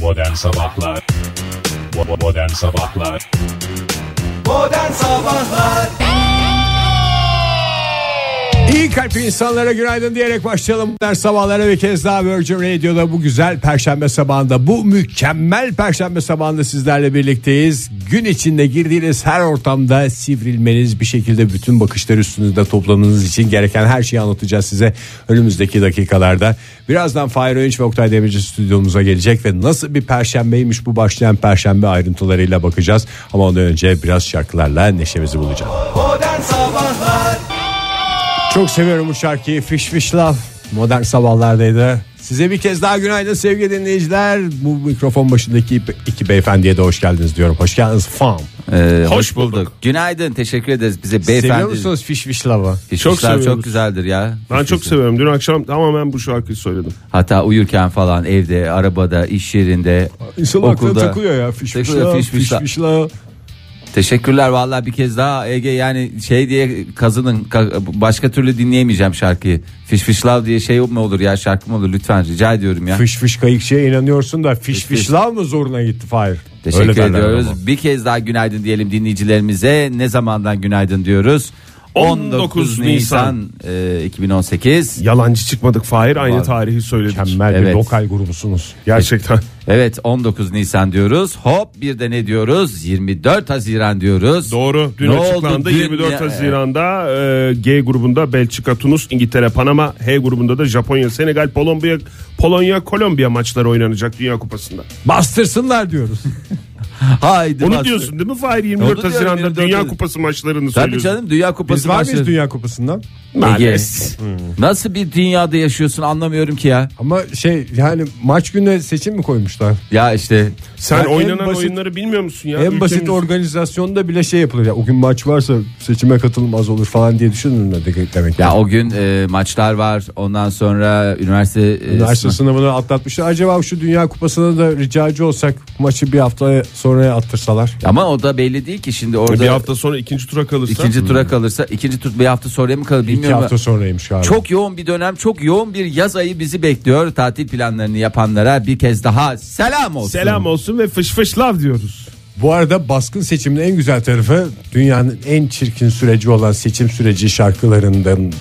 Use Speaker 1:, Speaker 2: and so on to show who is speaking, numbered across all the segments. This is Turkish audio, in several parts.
Speaker 1: Modern Sabahlar Bo- Modern Sabahlar
Speaker 2: Modern Sabahlar
Speaker 3: İyi kalpli insanlara günaydın diyerek başlayalım. Modern sabahlara bir kez daha Virgin Radio'da bu güzel perşembe sabahında, bu mükemmel perşembe sabahında sizlerle birlikteyiz. Gün içinde girdiğiniz her ortamda sivrilmeniz, bir şekilde bütün bakışları üstünüzde toplamanız için gereken her şeyi anlatacağız size önümüzdeki dakikalarda. Birazdan Fahir Öğünç ve Oktay Demirci stüdyomuza gelecek ve nasıl bir perşembeymiş bu başlayan perşembe ayrıntılarıyla bakacağız. Ama ondan önce biraz şarkılarla neşemizi bulacağız.
Speaker 2: Modern Sabahlar
Speaker 3: Çok seviyorum bu şarkıyı Fiş Fiş Love Modern sabahlardaydı Size bir kez daha günaydın sevgili dinleyiciler Bu mikrofon başındaki iki beyefendiye de hoş geldiniz diyorum Hoş geldiniz fam
Speaker 4: Ee, hoş, bulduk. Günaydın. Teşekkür ederiz bize beyefendi.
Speaker 3: Seviyor musunuz Fiş Fiş Love'ı?
Speaker 4: Teşekkürler,
Speaker 5: Çok seviyoruz.
Speaker 4: çok güzeldir ya.
Speaker 5: Ben çok seviyorum. Dün akşam tamamen bu şarkıyı söyledim.
Speaker 4: Hatta uyurken falan evde, arabada, iş yerinde,
Speaker 3: İnsan aklına
Speaker 4: okulda.
Speaker 3: takılıyor ya Fiş Fiş
Speaker 4: Takılıyor,
Speaker 3: Love
Speaker 4: Fiş Fiş
Speaker 3: Fiş
Speaker 4: Love.
Speaker 3: Fiş Love
Speaker 4: Teşekkürler vallahi bir kez daha Ege yani şey diye kazının ka- başka türlü dinleyemeyeceğim şarkıyı. Fiş fiş love diye şey mi olur ya şarkı mı olur lütfen rica ediyorum ya.
Speaker 3: Fiş Fiş Kayıkçı'ya inanıyorsun da Fiş Fiş
Speaker 4: Fiş.
Speaker 3: Love mı zoruna gitti Fahir? Öyle
Speaker 4: Teşekkür
Speaker 3: derler
Speaker 4: ediyoruz.
Speaker 3: ama.
Speaker 4: Bir kez daha günaydın diyelim dinleyicilerimize. Ne zamandan günaydın diyoruz?
Speaker 5: 19
Speaker 4: Nisan e, 2018.
Speaker 5: Yalancı çıkmadık Fahir aynı
Speaker 4: Vallahi.
Speaker 5: tarihi söyledik.
Speaker 3: Mükemmel bir
Speaker 4: Evet.
Speaker 3: lokal grubusunuz
Speaker 5: Gerçekten.
Speaker 4: Evet 19 Nisan diyoruz. Hop bir de ne diyoruz? 24 Haziran diyoruz.
Speaker 5: Doğru. Dün
Speaker 4: Ne
Speaker 5: açıklandı.
Speaker 4: oldu? Dün
Speaker 5: 24
Speaker 4: ya-
Speaker 5: Haziran'da e, G grubunda Belçika, Tunus, İngiltere, Panama, H grubunda da Japonya, Senegal, Polonya, Polonya, Kolombiya maçları oynanacak Dünya Kupası'nda.
Speaker 3: Bastırsınlar diyoruz
Speaker 4: Haydi
Speaker 5: Onu
Speaker 4: bastır.
Speaker 5: diyorsun değil mi Fahir?
Speaker 4: Onu
Speaker 5: 24
Speaker 4: diyorum,
Speaker 5: Haziran'da
Speaker 4: 24
Speaker 5: Dünya
Speaker 4: Haziran.
Speaker 5: Kupası maçlarını
Speaker 4: Tabii
Speaker 5: söylüyorsun.
Speaker 4: canım Dünya Kupası
Speaker 3: Biz var mıyız
Speaker 4: maçları.
Speaker 3: dünya kupasından?
Speaker 4: Ege.
Speaker 5: Maalesef.
Speaker 4: Nasıl bir dünyada yaşıyorsun anlamıyorum ki ya.
Speaker 3: Ama şey yani maç gününe seçim mi koymuşlar?
Speaker 4: Ya işte
Speaker 5: Sen
Speaker 3: Ya en
Speaker 5: oynanan
Speaker 3: basit-
Speaker 5: oyunları bilmiyor musun ya?
Speaker 3: En basit
Speaker 5: Ülkemiz-
Speaker 3: organizasyonda bile şey yapılır. Ya, o gün maç varsa seçime katılım az olur falan diye düşünürler de- demek.
Speaker 4: ya o gün e, maçlar var. Ondan sonra üniversite e,
Speaker 3: Üniversite
Speaker 4: sınavı-
Speaker 3: sınavını atlatmışlar. Acaba şu Dünya Kupası'na da ricacı olsak maçı bir hafta sonraya attırsalar.
Speaker 4: ama o da belli değil ki şimdi orada
Speaker 5: Bir hafta sonra ikinci tura kalırsa.
Speaker 4: ikinci tura kalırsa ikinci tur bir hafta sonraya mı kalır
Speaker 3: İki
Speaker 4: bilmiyorum. ama-
Speaker 3: hafta sonraymış galiba.
Speaker 4: Çok yoğun bir dönem, çok yoğun bir yaz ayı bizi bekliyor. Tatil planlarını yapanlara bir kez daha selam olsun.
Speaker 5: Selam olsun ve fış fış lav diyoruz.
Speaker 3: Bu arada baskın seçimin en güzel tarafı dünyanın en çirkin süreci olan seçim süreci şarkılarından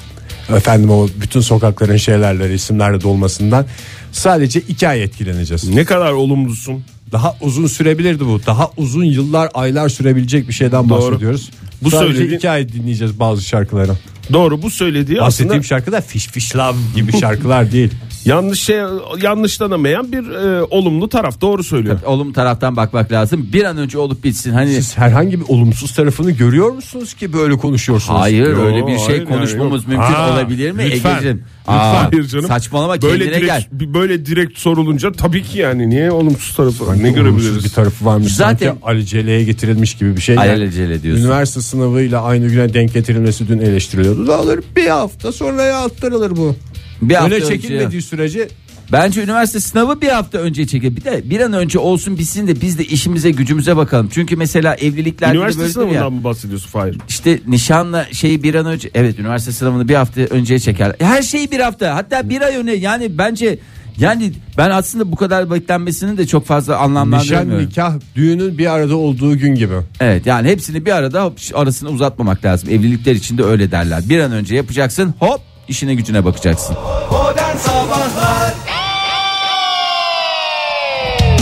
Speaker 3: efendim o bütün sokakların şeylerle isimlerle dolmasından sadece iki ay etkileneceğiz.
Speaker 5: Ne kadar olumlusun.
Speaker 3: Daha uzun sürebilirdi bu. Daha uzun yıllar, aylar sürebilecek bir şeyden
Speaker 5: Doğru.
Speaker 3: bahsediyoruz. Bu
Speaker 5: Bu
Speaker 3: Sadece
Speaker 5: söylediğin-
Speaker 3: iki ay dinleyeceğiz bazı şarkıları.
Speaker 5: Doğru bu söylediği aslında
Speaker 3: Bahsettiğim şarkı da Fiş Fiş Love gibi şarkılar değil.
Speaker 5: yanlış şey yanlışlanamayan bir e, olumlu taraf doğru söylüyor.
Speaker 4: Olum taraftan bakmak lazım. Bir an önce olup bitsin. Hani
Speaker 3: Siz herhangi bir olumsuz tarafını görüyor musunuz ki böyle konuşuyorsunuz?
Speaker 4: hayır
Speaker 5: Yo,
Speaker 4: öyle bir şey
Speaker 5: hayır yani,
Speaker 4: konuşmamız
Speaker 5: yok.
Speaker 4: mümkün
Speaker 5: Aa,
Speaker 4: olabilir mi
Speaker 5: lütfen.
Speaker 4: Egeciğim? Aa,
Speaker 5: Lütfen. Hayır canım.
Speaker 4: Saçmalama
Speaker 5: böyle
Speaker 4: kendine
Speaker 5: direkt,
Speaker 4: gel.
Speaker 5: bi- Böyle direkt sorulunca tabii ki yani niye olumsuz tarafı var? Ne
Speaker 3: Olumsuz
Speaker 5: görebiliriz?
Speaker 3: bir tarafı varmış. Zaten
Speaker 4: Zaten-
Speaker 3: Sanki alelceleye getirilmiş gibi bir şey. Yani
Speaker 4: Alelacele diyorsun.
Speaker 3: Üniversite sınavıyla aynı güne denk getirilmesi dün eleştiriliyordu. Da alır bir hafta sonraya attırılır bu.
Speaker 4: Bir hafta
Speaker 3: Öyle
Speaker 4: önce.
Speaker 3: çekilmediği sürece
Speaker 4: Bence üniversite sınavı bir hafta önce çeker. Bir de bir an önce olsun bitsin de biz de işimize gücümüze bakalım. Çünkü mesela evliliklerde de
Speaker 5: Üniversite
Speaker 4: böyledir
Speaker 5: sınavından
Speaker 4: ya.
Speaker 5: mı bahsediyorsun Fahir?
Speaker 4: İşte nişanla şeyi bir an önce evet üniversite sınavını bir hafta önceye çeker. Her şeyi bir hafta hatta bir ay öne yani bence yani ben aslında bu kadar beklenmesini de çok fazla
Speaker 3: nişan,
Speaker 4: anlamlandırmıyorum.
Speaker 3: nikah, düğünün bir arada olduğu gün gibi.
Speaker 4: Evet yani hepsini bir arada hop, arasını uzatmamak lazım. Evlilikler için de öyle derler. Bir an önce yapacaksın hop işine gücüne bakacaksın.
Speaker 2: Modern Sabahlar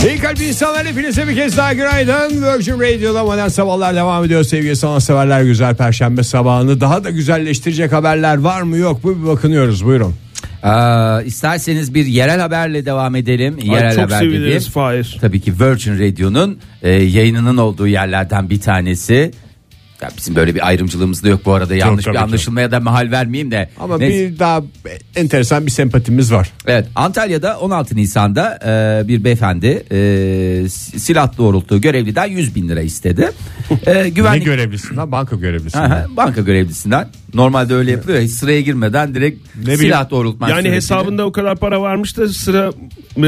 Speaker 3: İyi kalp insanlar hepinize bir kez daha günaydın. Virgin Radio'da modern sabahlar devam ediyor. Sevgili sanatseverler güzel perşembe sabahını daha da güzelleştirecek haberler var mı yok mu bir bakınıyoruz buyurun.
Speaker 4: Ee, isterseniz bir yerel haberle devam edelim. Yerel
Speaker 5: Ay, çok
Speaker 4: haber
Speaker 5: seviniriz
Speaker 4: dediğim-
Speaker 5: Fahir.
Speaker 4: Tabii ki Virgin Radio'nun e, yayınının olduğu yerlerden bir tanesi. Ya bizim böyle bir ayrımcılığımız da yok bu arada yanlış
Speaker 5: tabii
Speaker 4: bir
Speaker 5: ki.
Speaker 4: anlaşılmaya da mahal vermeyeyim de.
Speaker 3: Ama
Speaker 4: Neyse.
Speaker 3: bir daha enteresan bir sempatimiz var.
Speaker 4: Evet Antalya'da 16 Nisan'da e, bir beyefendi e, s- silah doğrulttuğu görevliden 100 bin lira istedi. E, güvenlik
Speaker 3: Ne görevlisinden banka
Speaker 4: Aha,
Speaker 3: görevlisinden.
Speaker 4: banka görevlisinden normalde öyle yapılıyor ya, hiç sıraya girmeden direkt
Speaker 3: bileyim,
Speaker 4: silah doğrultmak
Speaker 5: Yani
Speaker 4: suretiyle.
Speaker 5: hesabında o kadar para varmış da sıra e,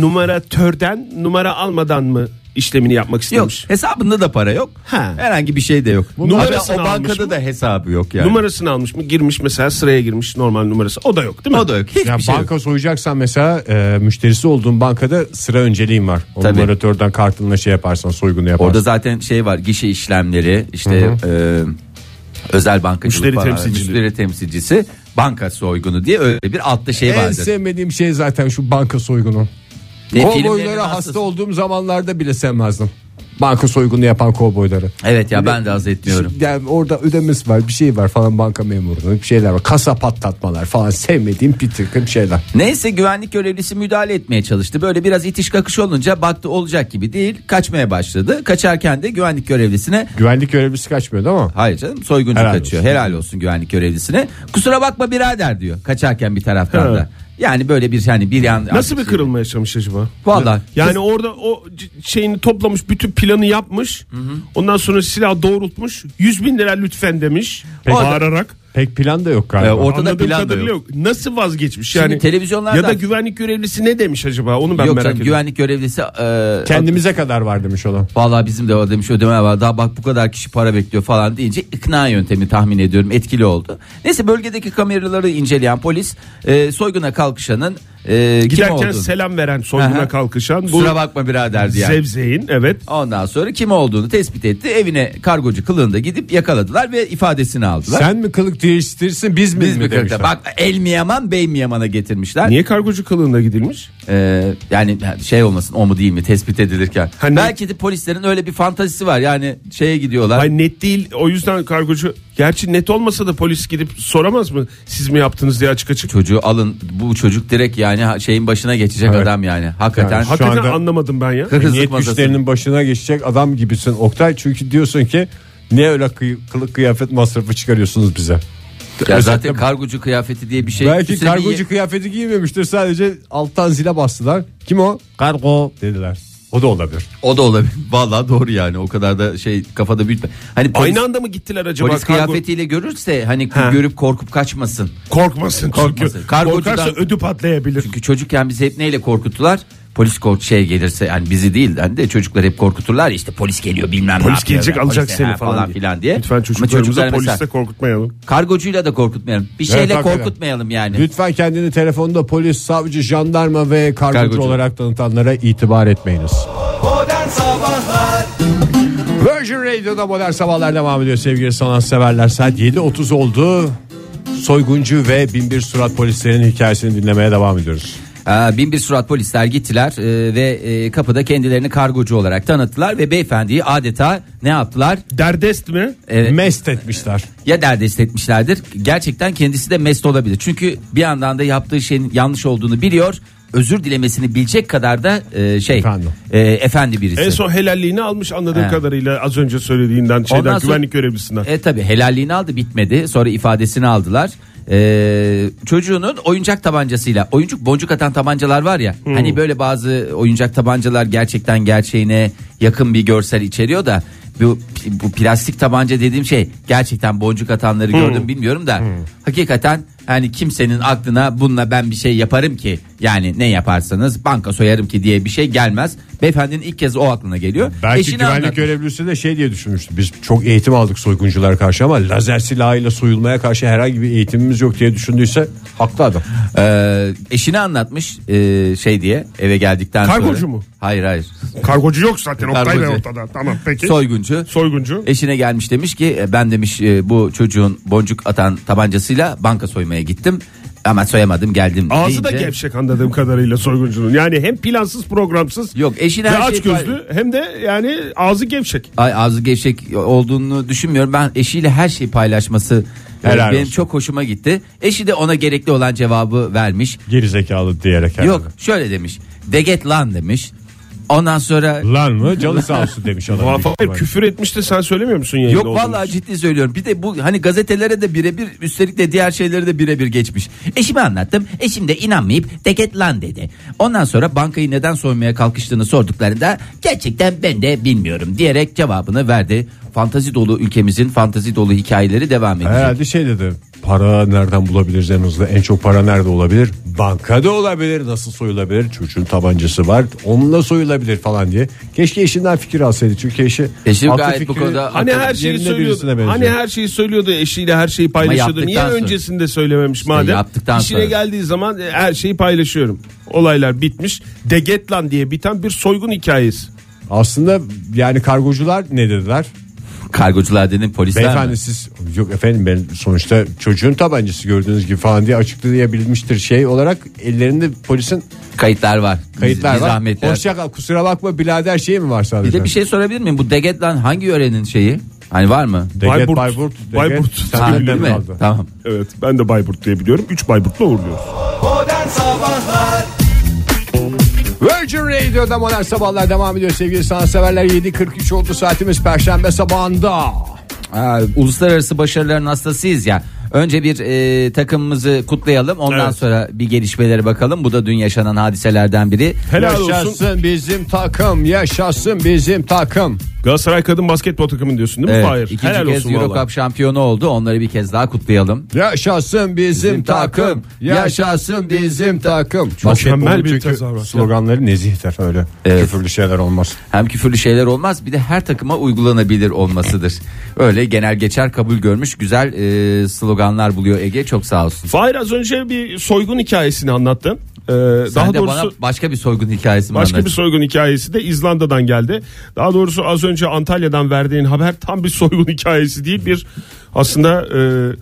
Speaker 5: numaratörden numara almadan mı işlemini yapmak
Speaker 4: Yok
Speaker 5: istemiş.
Speaker 4: hesabında da para yok.
Speaker 5: Ha.
Speaker 4: Herhangi bir şey de yok.
Speaker 5: Numarasını
Speaker 4: Hatta o
Speaker 5: almış
Speaker 4: bankada
Speaker 5: mı?
Speaker 4: da hesabı yok yani.
Speaker 5: Numarasını almış mı? Girmiş mesela sıraya girmiş normal numarası. O da yok değil mi?
Speaker 4: o da yok. Hiçbir
Speaker 3: Ya
Speaker 4: şey yok.
Speaker 3: banka soyacaksan mesela e, müşterisi olduğun bankada sıra önceliğin var. O
Speaker 4: Tabii.
Speaker 3: numaratörden kartınla şey yaparsan soygunu yaparsan.
Speaker 4: Orada zaten şey var gişe işlemleri işte e, özel bankacılık
Speaker 5: Müşteri
Speaker 4: falan,
Speaker 5: temsilciliği.
Speaker 4: müşteri temsilcisi banka soygunu diye öyle bir altta şey
Speaker 3: en
Speaker 4: vardır.
Speaker 3: sevmediğim şey zaten şu banka soygunu.
Speaker 4: Ne filmlerin
Speaker 3: Kovboylara
Speaker 4: hastası-
Speaker 3: hasta olduğum zamanlarda bile sevmezdim. Banka soygunu yapan kovboyları.
Speaker 4: Evet ya ben de haz etmiyorum.
Speaker 3: Yani orada ödemesi var bir şey var falan banka memurunun bir şeyler var. Kasa patlatmalar falan sevmediğim bir takım şeyler.
Speaker 4: Neyse güvenlik görevlisi müdahale etmeye çalıştı. Böyle biraz itiş kakış olunca baktı olacak gibi değil. Kaçmaya başladı. Kaçarken de güvenlik görevlisine
Speaker 3: Güvenlik görevlisi kaçmıyordu ama.
Speaker 4: Hayır canım soyguncu
Speaker 3: Helal
Speaker 4: kaçıyor.
Speaker 3: olsun.
Speaker 4: Helal olsun güvenlik görevlisine. Kusura bakma birader diyor kaçarken bir taraftan da. Yani böyle bir yani bir yan
Speaker 5: Nasıl bir kırılma yaşamış acaba?
Speaker 4: Vallahi.
Speaker 5: Yani orada o c- şeyini toplamış bütün planı yapmış. Ondan sonra silah doğrultmuş. 100 bin lira lütfen demiş.
Speaker 3: Peki.
Speaker 5: Bağırarak.
Speaker 3: Pek plan da yok galiba.
Speaker 4: Ee, ortada
Speaker 5: Anladığım
Speaker 4: plan da
Speaker 5: kadarıyla
Speaker 4: yok.
Speaker 5: Nasıl vazgeçmiş
Speaker 4: Şimdi
Speaker 5: yani?
Speaker 4: televizyonlarda-
Speaker 5: Ya da güvenlik görevlisi ne demiş acaba? Onu ben
Speaker 4: Yok
Speaker 5: merak
Speaker 4: canım
Speaker 5: ediyorum.
Speaker 4: güvenlik görevlisi e,
Speaker 3: Kendimize kadar var demiş olan.
Speaker 4: Vallahi bizim de var demiş ödeme var. Daha bak bu kadar kişi para bekliyor falan deyince ikna yöntemi tahmin ediyorum etkili oldu. Neyse bölgedeki kameraları inceleyen polis e, soyguna kalkışanın e, kim
Speaker 5: Giderken
Speaker 4: olduğunu.
Speaker 5: selam veren soyguna
Speaker 4: Aha.
Speaker 5: kalkışan bu
Speaker 4: Kusura bakma birader diye.
Speaker 5: zevzeyin evet.
Speaker 4: Ondan sonra kim olduğunu tespit etti. Evine kargocu kılığında gidip yakaladılar ve ifadesini aldılar.
Speaker 3: Sen mi kılık değiştirirsin biz mi,
Speaker 4: Biz
Speaker 3: mi
Speaker 4: mi
Speaker 3: demişler.
Speaker 4: kırıkta? Bak el mi yaman bey mi yamana getirmişler.
Speaker 5: Niye kargocu kılığında gidilmiş?
Speaker 4: Ee, yani şey olmasın o mu değil mi tespit edilirken.
Speaker 5: Hani-
Speaker 4: Belki de polislerin öyle bir fantazisi var. Yani şeye gidiyorlar.
Speaker 5: Ay net değil o yüzden kargocu gerçi net olmasa da polis gidip soramaz mı siz mi yaptınız diye açık açık.
Speaker 4: Çocuğu alın bu çocuk direkt yani ha- şeyin başına geçecek
Speaker 3: Evet.
Speaker 4: adam yani. Hakikaten.
Speaker 3: Yani
Speaker 5: Hakikaten
Speaker 3: anda-
Speaker 5: anlamadım ben ya.
Speaker 4: Hırsızlık
Speaker 3: Emniyet
Speaker 4: masası.
Speaker 3: güçlerinin başına geçecek adam gibisin Oktay. Çünkü diyorsun ki niye öyle kıy- kılık kıyafet masrafı çıkarıyorsunuz bize?
Speaker 4: Ya zaten kargocu kıyafeti diye bir şey.
Speaker 3: Belki
Speaker 4: Üstelik
Speaker 3: kargocu
Speaker 4: ye-
Speaker 3: kıyafeti giymemiştir sadece alttan zile bastılar. Kim o? Kargo dediler. O da olabilir.
Speaker 4: O da olabilir. Vallahi doğru yani. O kadar da şey kafada büyütme. Hani polis,
Speaker 5: Aynı anda mı gittiler acaba?
Speaker 4: polis
Speaker 5: kargo-
Speaker 4: kıyafetiyle görürse hani
Speaker 5: Ha.
Speaker 4: görüp korkup kaçmasın.
Speaker 5: Korkmasın.
Speaker 4: Korkmasın.
Speaker 5: Çünkü
Speaker 4: Kargocudan-
Speaker 5: Korkarsa ödü patlayabilir.
Speaker 4: Çünkü çocukken bizi hep neyle korkuttular? Polis kork şey gelirse yani bizi değil hani de çocuklar hep korkuturlar ya, işte polis geliyor bilmem ne
Speaker 5: Polis
Speaker 4: yapıyor.
Speaker 5: gelecek
Speaker 4: Yani
Speaker 5: alacak
Speaker 4: polis-
Speaker 5: seni
Speaker 4: ha,
Speaker 5: falan,
Speaker 4: falan filan diye.
Speaker 5: Lütfen
Speaker 4: Ama
Speaker 5: çocuklarımıza
Speaker 4: çocuklar
Speaker 5: polisle
Speaker 4: mesela
Speaker 5: korkutmayalım.
Speaker 4: Kargocuyla da korkutmayalım. Bir şeyle
Speaker 3: hakikaten.
Speaker 4: korkutmayalım yani.
Speaker 3: Lütfen kendini telefonda polis, savcı, jandarma ve kargocu,
Speaker 4: Kargocu.
Speaker 3: olarak tanıtanlara itibar etmeyiniz.
Speaker 2: Modern Sabahlar
Speaker 3: Virgin Radio'da modern sabahlar devam ediyor sevgili sanatseverler. Saat 7.30 oldu. Soyguncu ve binbir surat polislerin hikayesini dinlemeye devam ediyoruz.
Speaker 4: Ee, bin bir surat polisler gittiler e, ve e, kapıda kendilerini kargocu olarak tanıttılar ve beyefendiyi adeta ne yaptılar?
Speaker 5: Derdest mi?
Speaker 4: Evet.
Speaker 3: Mest etmişler.
Speaker 4: Ya derdest etmişlerdir. Gerçekten kendisi de mest olabilir. Çünkü bir yandan da yaptığı şeyin yanlış olduğunu biliyor. Özür dilemesini bilecek kadar da e, şey
Speaker 3: Efendim.
Speaker 4: e, efendi birisi.
Speaker 5: En son helalliğini almış anladığım
Speaker 4: He.
Speaker 5: kadarıyla az önce söylediğinden şeyden
Speaker 4: Ondan sonra-
Speaker 5: güvenlik görevlisinden.
Speaker 4: E tabi helalliğini aldı bitmedi. Sonra ifadesini aldılar. Ee, çocuğunun oyuncak tabancasıyla oyuncuk boncuk atan tabancalar var ya
Speaker 5: Hmm.
Speaker 4: hani böyle bazı oyuncak tabancalar gerçekten gerçeğine yakın bir görsel içeriyor da bu, bu plastik tabanca dediğim şey gerçekten boncuk atanları
Speaker 5: Hmm.
Speaker 4: gördüm bilmiyorum da hakikaten hani kimsenin aklına bununla ben bir şey yaparım ki yani ne yaparsanız banka soyarım ki diye bir şey gelmez beyefendinin ilk kez o aklına geliyor
Speaker 3: Belki
Speaker 4: Eşini
Speaker 3: güvenlik
Speaker 4: anlatmış.
Speaker 3: görevlisi de şey diye düşünmüştü. Biz çok eğitim aldık soygunculara karşı ama lazer silahıyla soyulmaya karşı herhangi bir eğitimimiz yok diye düşündüyse haklı adam.
Speaker 4: Ee, eşini anlatmış ee, şey diye eve geldikten sonra.
Speaker 5: Kargocu mu?
Speaker 4: Hayır hayır.
Speaker 5: Kargocu yok zaten Oktay Bey
Speaker 4: E- Kargocu. E-
Speaker 5: ortada. Tamam peki.
Speaker 4: Soyguncu.
Speaker 5: Soyguncu.
Speaker 4: Eşine gelmiş demiş ki "E, ben demiş e, bu çocuğun boncuk atan tabancasıyla banka soymaya gittim. Ama soyamadım geldim.
Speaker 5: Ağzı da
Speaker 4: deyince-
Speaker 5: gevşek anladığım kadarıyla soyguncunun. Yani hem plansız programsız
Speaker 4: Yok, eşine
Speaker 5: ve
Speaker 4: her
Speaker 5: aç
Speaker 4: şey-
Speaker 5: gözlü hem de yani ağzı gevşek.
Speaker 4: Ay, ağzı gevşek olduğunu düşünmüyorum. Ben eşiyle her şeyi paylaşması e,
Speaker 3: Helal
Speaker 4: benim
Speaker 3: olsun.
Speaker 4: çok hoşuma gitti. Eşi de ona gerekli olan cevabı vermiş.
Speaker 3: Geri zekalı diyerek herhalde.
Speaker 4: Yok şöyle demiş. Deget lan demiş. Ondan sonra
Speaker 3: Lan mı canı sağ olsun demiş adam. büyük
Speaker 5: Muhafak
Speaker 3: ihtimalle.
Speaker 5: küfür etmiş de sen söylemiyor musun yayında
Speaker 4: Yok
Speaker 5: olduğunu?
Speaker 4: vallahi ciddi söylüyorum. Bir de bu hani gazetelere de birebir üstelik de diğer şeylere de birebir geçmiş. Eşime anlattım. Eşim de inanmayıp deket lan dedi. Ondan sonra bankayı neden soymaya kalkıştığını sorduklarında gerçekten ben de bilmiyorum diyerek cevabını verdi. Fantazi dolu ülkemizin fantazi dolu hikayeleri devam edecek.
Speaker 3: Herhalde şey dedi. para nereden bulabiliriz en hızlı? En çok para nerede olabilir? Bankada olabilir. Nasıl soyulabilir? Çocuğun tabancası var. Onunla soyulabilir falan diye. Keşke eşinden fikir alsaydı. Çünkü eşi
Speaker 4: Eşi
Speaker 3: aklı
Speaker 4: gayet bu
Speaker 3: fikri
Speaker 4: konuda-
Speaker 5: Hani
Speaker 3: yerinde
Speaker 5: her şeyi
Speaker 3: birisine
Speaker 5: söylüyordu.
Speaker 3: benziyor.
Speaker 5: Hani her şeyi söylüyordu eşiyle her şeyi paylaşıyordu. Niye
Speaker 4: yaptıktan sonra-
Speaker 5: öncesinde söylememiş madem?
Speaker 4: yaptıktan
Speaker 5: İşine
Speaker 4: sonra.
Speaker 5: geldiği zaman e, her şeyi paylaşıyorum. Olaylar bitmiş. Degetlan diye biten bir soygun hikayesi.
Speaker 3: Aslında yani kargocular ne dediler?
Speaker 4: Kargocular dedin polisler
Speaker 3: Beyefendi
Speaker 4: mi?
Speaker 3: siz yok efendim ben sonuçta çocuğun tabancası gördüğünüz gibi falan diye açıklayabilmiştir şey olarak ellerinde polisin
Speaker 4: Kayıtlar var.
Speaker 3: kayıtlar
Speaker 4: bir, bir
Speaker 3: var.
Speaker 4: zahmet ya.
Speaker 3: Hoşça kal kusura bakma birader şey mi var sadece?
Speaker 4: Bir de bir şey sorabilir miyim? Bu Degetlan hangi yörenin şeyi? Hani var mı?
Speaker 3: Deget,
Speaker 5: Bayburt.
Speaker 3: Bayburt, Deget,
Speaker 5: Bayburt.
Speaker 3: sen
Speaker 4: Ha,
Speaker 3: de
Speaker 4: değil mi?
Speaker 3: kaldı.
Speaker 4: Tamam.
Speaker 5: Evet ben de Bayburt diye biliyorum. 3 Bayburt'la uğurluyoruz.
Speaker 2: Modern Sabahlar
Speaker 3: Virgin Radio'da modern sabahlar devam ediyor sevgili sanatseverler 7.43 oldu saatimiz perşembe sabahında.
Speaker 4: Aa, uluslararası başarıların hastasıyız ya. Önce bir e, takımımızı kutlayalım. Ondan
Speaker 5: Evet.
Speaker 4: sonra bir gelişmelere bakalım. Bu da dün yaşanan hadiselerden biri.
Speaker 5: Helal
Speaker 3: yaşasın
Speaker 5: olsun.
Speaker 3: bizim takım yaşasın bizim takım.
Speaker 5: Galatasaray kadın basketbol takımı diyorsun değil mi?
Speaker 4: Evet,
Speaker 5: Hayır.
Speaker 4: ikinci
Speaker 5: Helal
Speaker 4: kez
Speaker 5: olsun
Speaker 4: Euro
Speaker 5: valla.
Speaker 4: Cup şampiyonu oldu. Onları bir kez daha kutlayalım.
Speaker 3: Yaşasın bizim, takım, yaşasın bizim takım.
Speaker 5: Mükemmel bir
Speaker 3: Çünkü
Speaker 5: tezahürat.
Speaker 3: Sloganları nezihler öyle.
Speaker 4: Evet.
Speaker 3: Küfürlü şeyler olmaz.
Speaker 4: Hem küfürlü şeyler olmaz bir de her takıma uygulanabilir olmasıdır. Öyle genel geçer kabul görmüş güzel e, sloganlar buluyor Ege. Çok sağ olsun.
Speaker 5: Fahir az önce bir soygun hikayesini anlattın. Ee,
Speaker 4: Sen
Speaker 5: daha
Speaker 4: de
Speaker 5: doğrusu
Speaker 4: bana başka bir soygun hikayesi mi
Speaker 5: Başka bir
Speaker 4: anlattın?
Speaker 5: soygun hikayesi de İzlanda'dan geldi. Daha doğrusu az önce Antalya'dan verdiğin haber tam bir soygun hikayesi değil. Bir aslında e,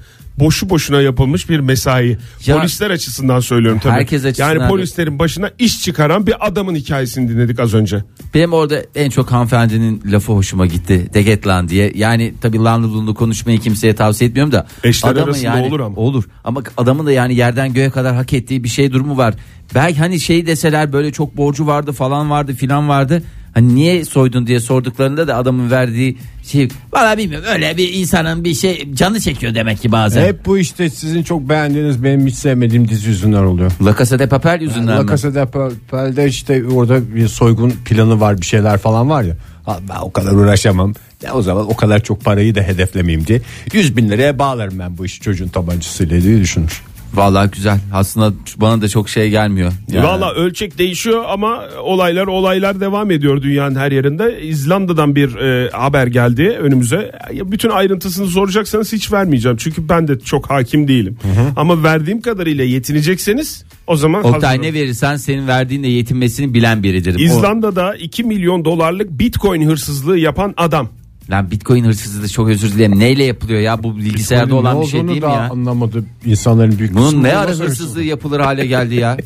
Speaker 5: boşu boşuna yapılmış bir mesai.
Speaker 4: Ya-
Speaker 5: Polisler açısından söylüyorum tabii.
Speaker 4: Herkes açısından-
Speaker 5: Yani polislerin başına iş çıkaran bir adamın hikayesini dinledik az önce.
Speaker 4: Benim orada en çok hanımefendinin lafı hoşuma gitti. Degetlan diye. Yani tabii Landlord'lu konuşmayı kimseye tavsiye etmiyorum da.
Speaker 5: Eşler
Speaker 4: adamın
Speaker 5: arasında
Speaker 4: yani,
Speaker 5: olur ama.
Speaker 4: Olur ama adamın da yani yerden göğe kadar hak ettiği bir şey durumu var. Belki hani şey deseler böyle çok borcu vardı falan vardı filan vardı. Hani niye soydun diye sorduklarında da adamın verdiği şey valla bilmiyorum öyle bir insanın bir şey canı çekiyor demek ki bazen.
Speaker 3: Hep bu işte sizin çok beğendiğiniz benim hiç sevmediğim dizi yüzünden oluyor.
Speaker 4: La Casa de Papel yüzünden
Speaker 3: La
Speaker 4: mi?
Speaker 3: Casa de Papel'de işte orada bir soygun planı var bir şeyler falan var ya. Ha, Ben o kadar uğraşamam. Ya o zaman o kadar çok parayı da hedeflemeyeyim diye. 100 bin liraya bağlarım ben bu işi çocuğun tabancasıyla diye düşünür.
Speaker 4: Vallahi güzel. Aslında bana da çok şey gelmiyor. Yani.
Speaker 5: Valla ölçek değişiyor ama olaylar olaylar devam ediyor dünyanın her yerinde. İzlanda'dan bir e, haber geldi önümüze. Ya Bütün ayrıntısını soracaksanız hiç vermeyeceğim. Çünkü ben de çok hakim değilim. Ama verdiğim kadarıyla yetinecekseniz o zaman
Speaker 4: Oktay
Speaker 5: hazırım.
Speaker 4: ne verirsen senin verdiğinle yetinmesini bilen biridir. O-
Speaker 5: İzlanda'da 2 milyon dolarlık bitcoin hırsızlığı yapan adam.
Speaker 4: Lan Bitcoin hırsızlığı da çok özür dilerim. Neyle yapılıyor ya bu bilgisayarda
Speaker 3: Bunun ne
Speaker 4: olan bir şey
Speaker 3: olduğunu
Speaker 4: değil mi
Speaker 3: da
Speaker 4: ya?
Speaker 3: anlamadı insanların büyük
Speaker 4: Bunun
Speaker 3: kısmı
Speaker 4: ne
Speaker 3: da
Speaker 4: ara
Speaker 3: nasıl
Speaker 4: hırsızlığı yapılır hale geldi ya?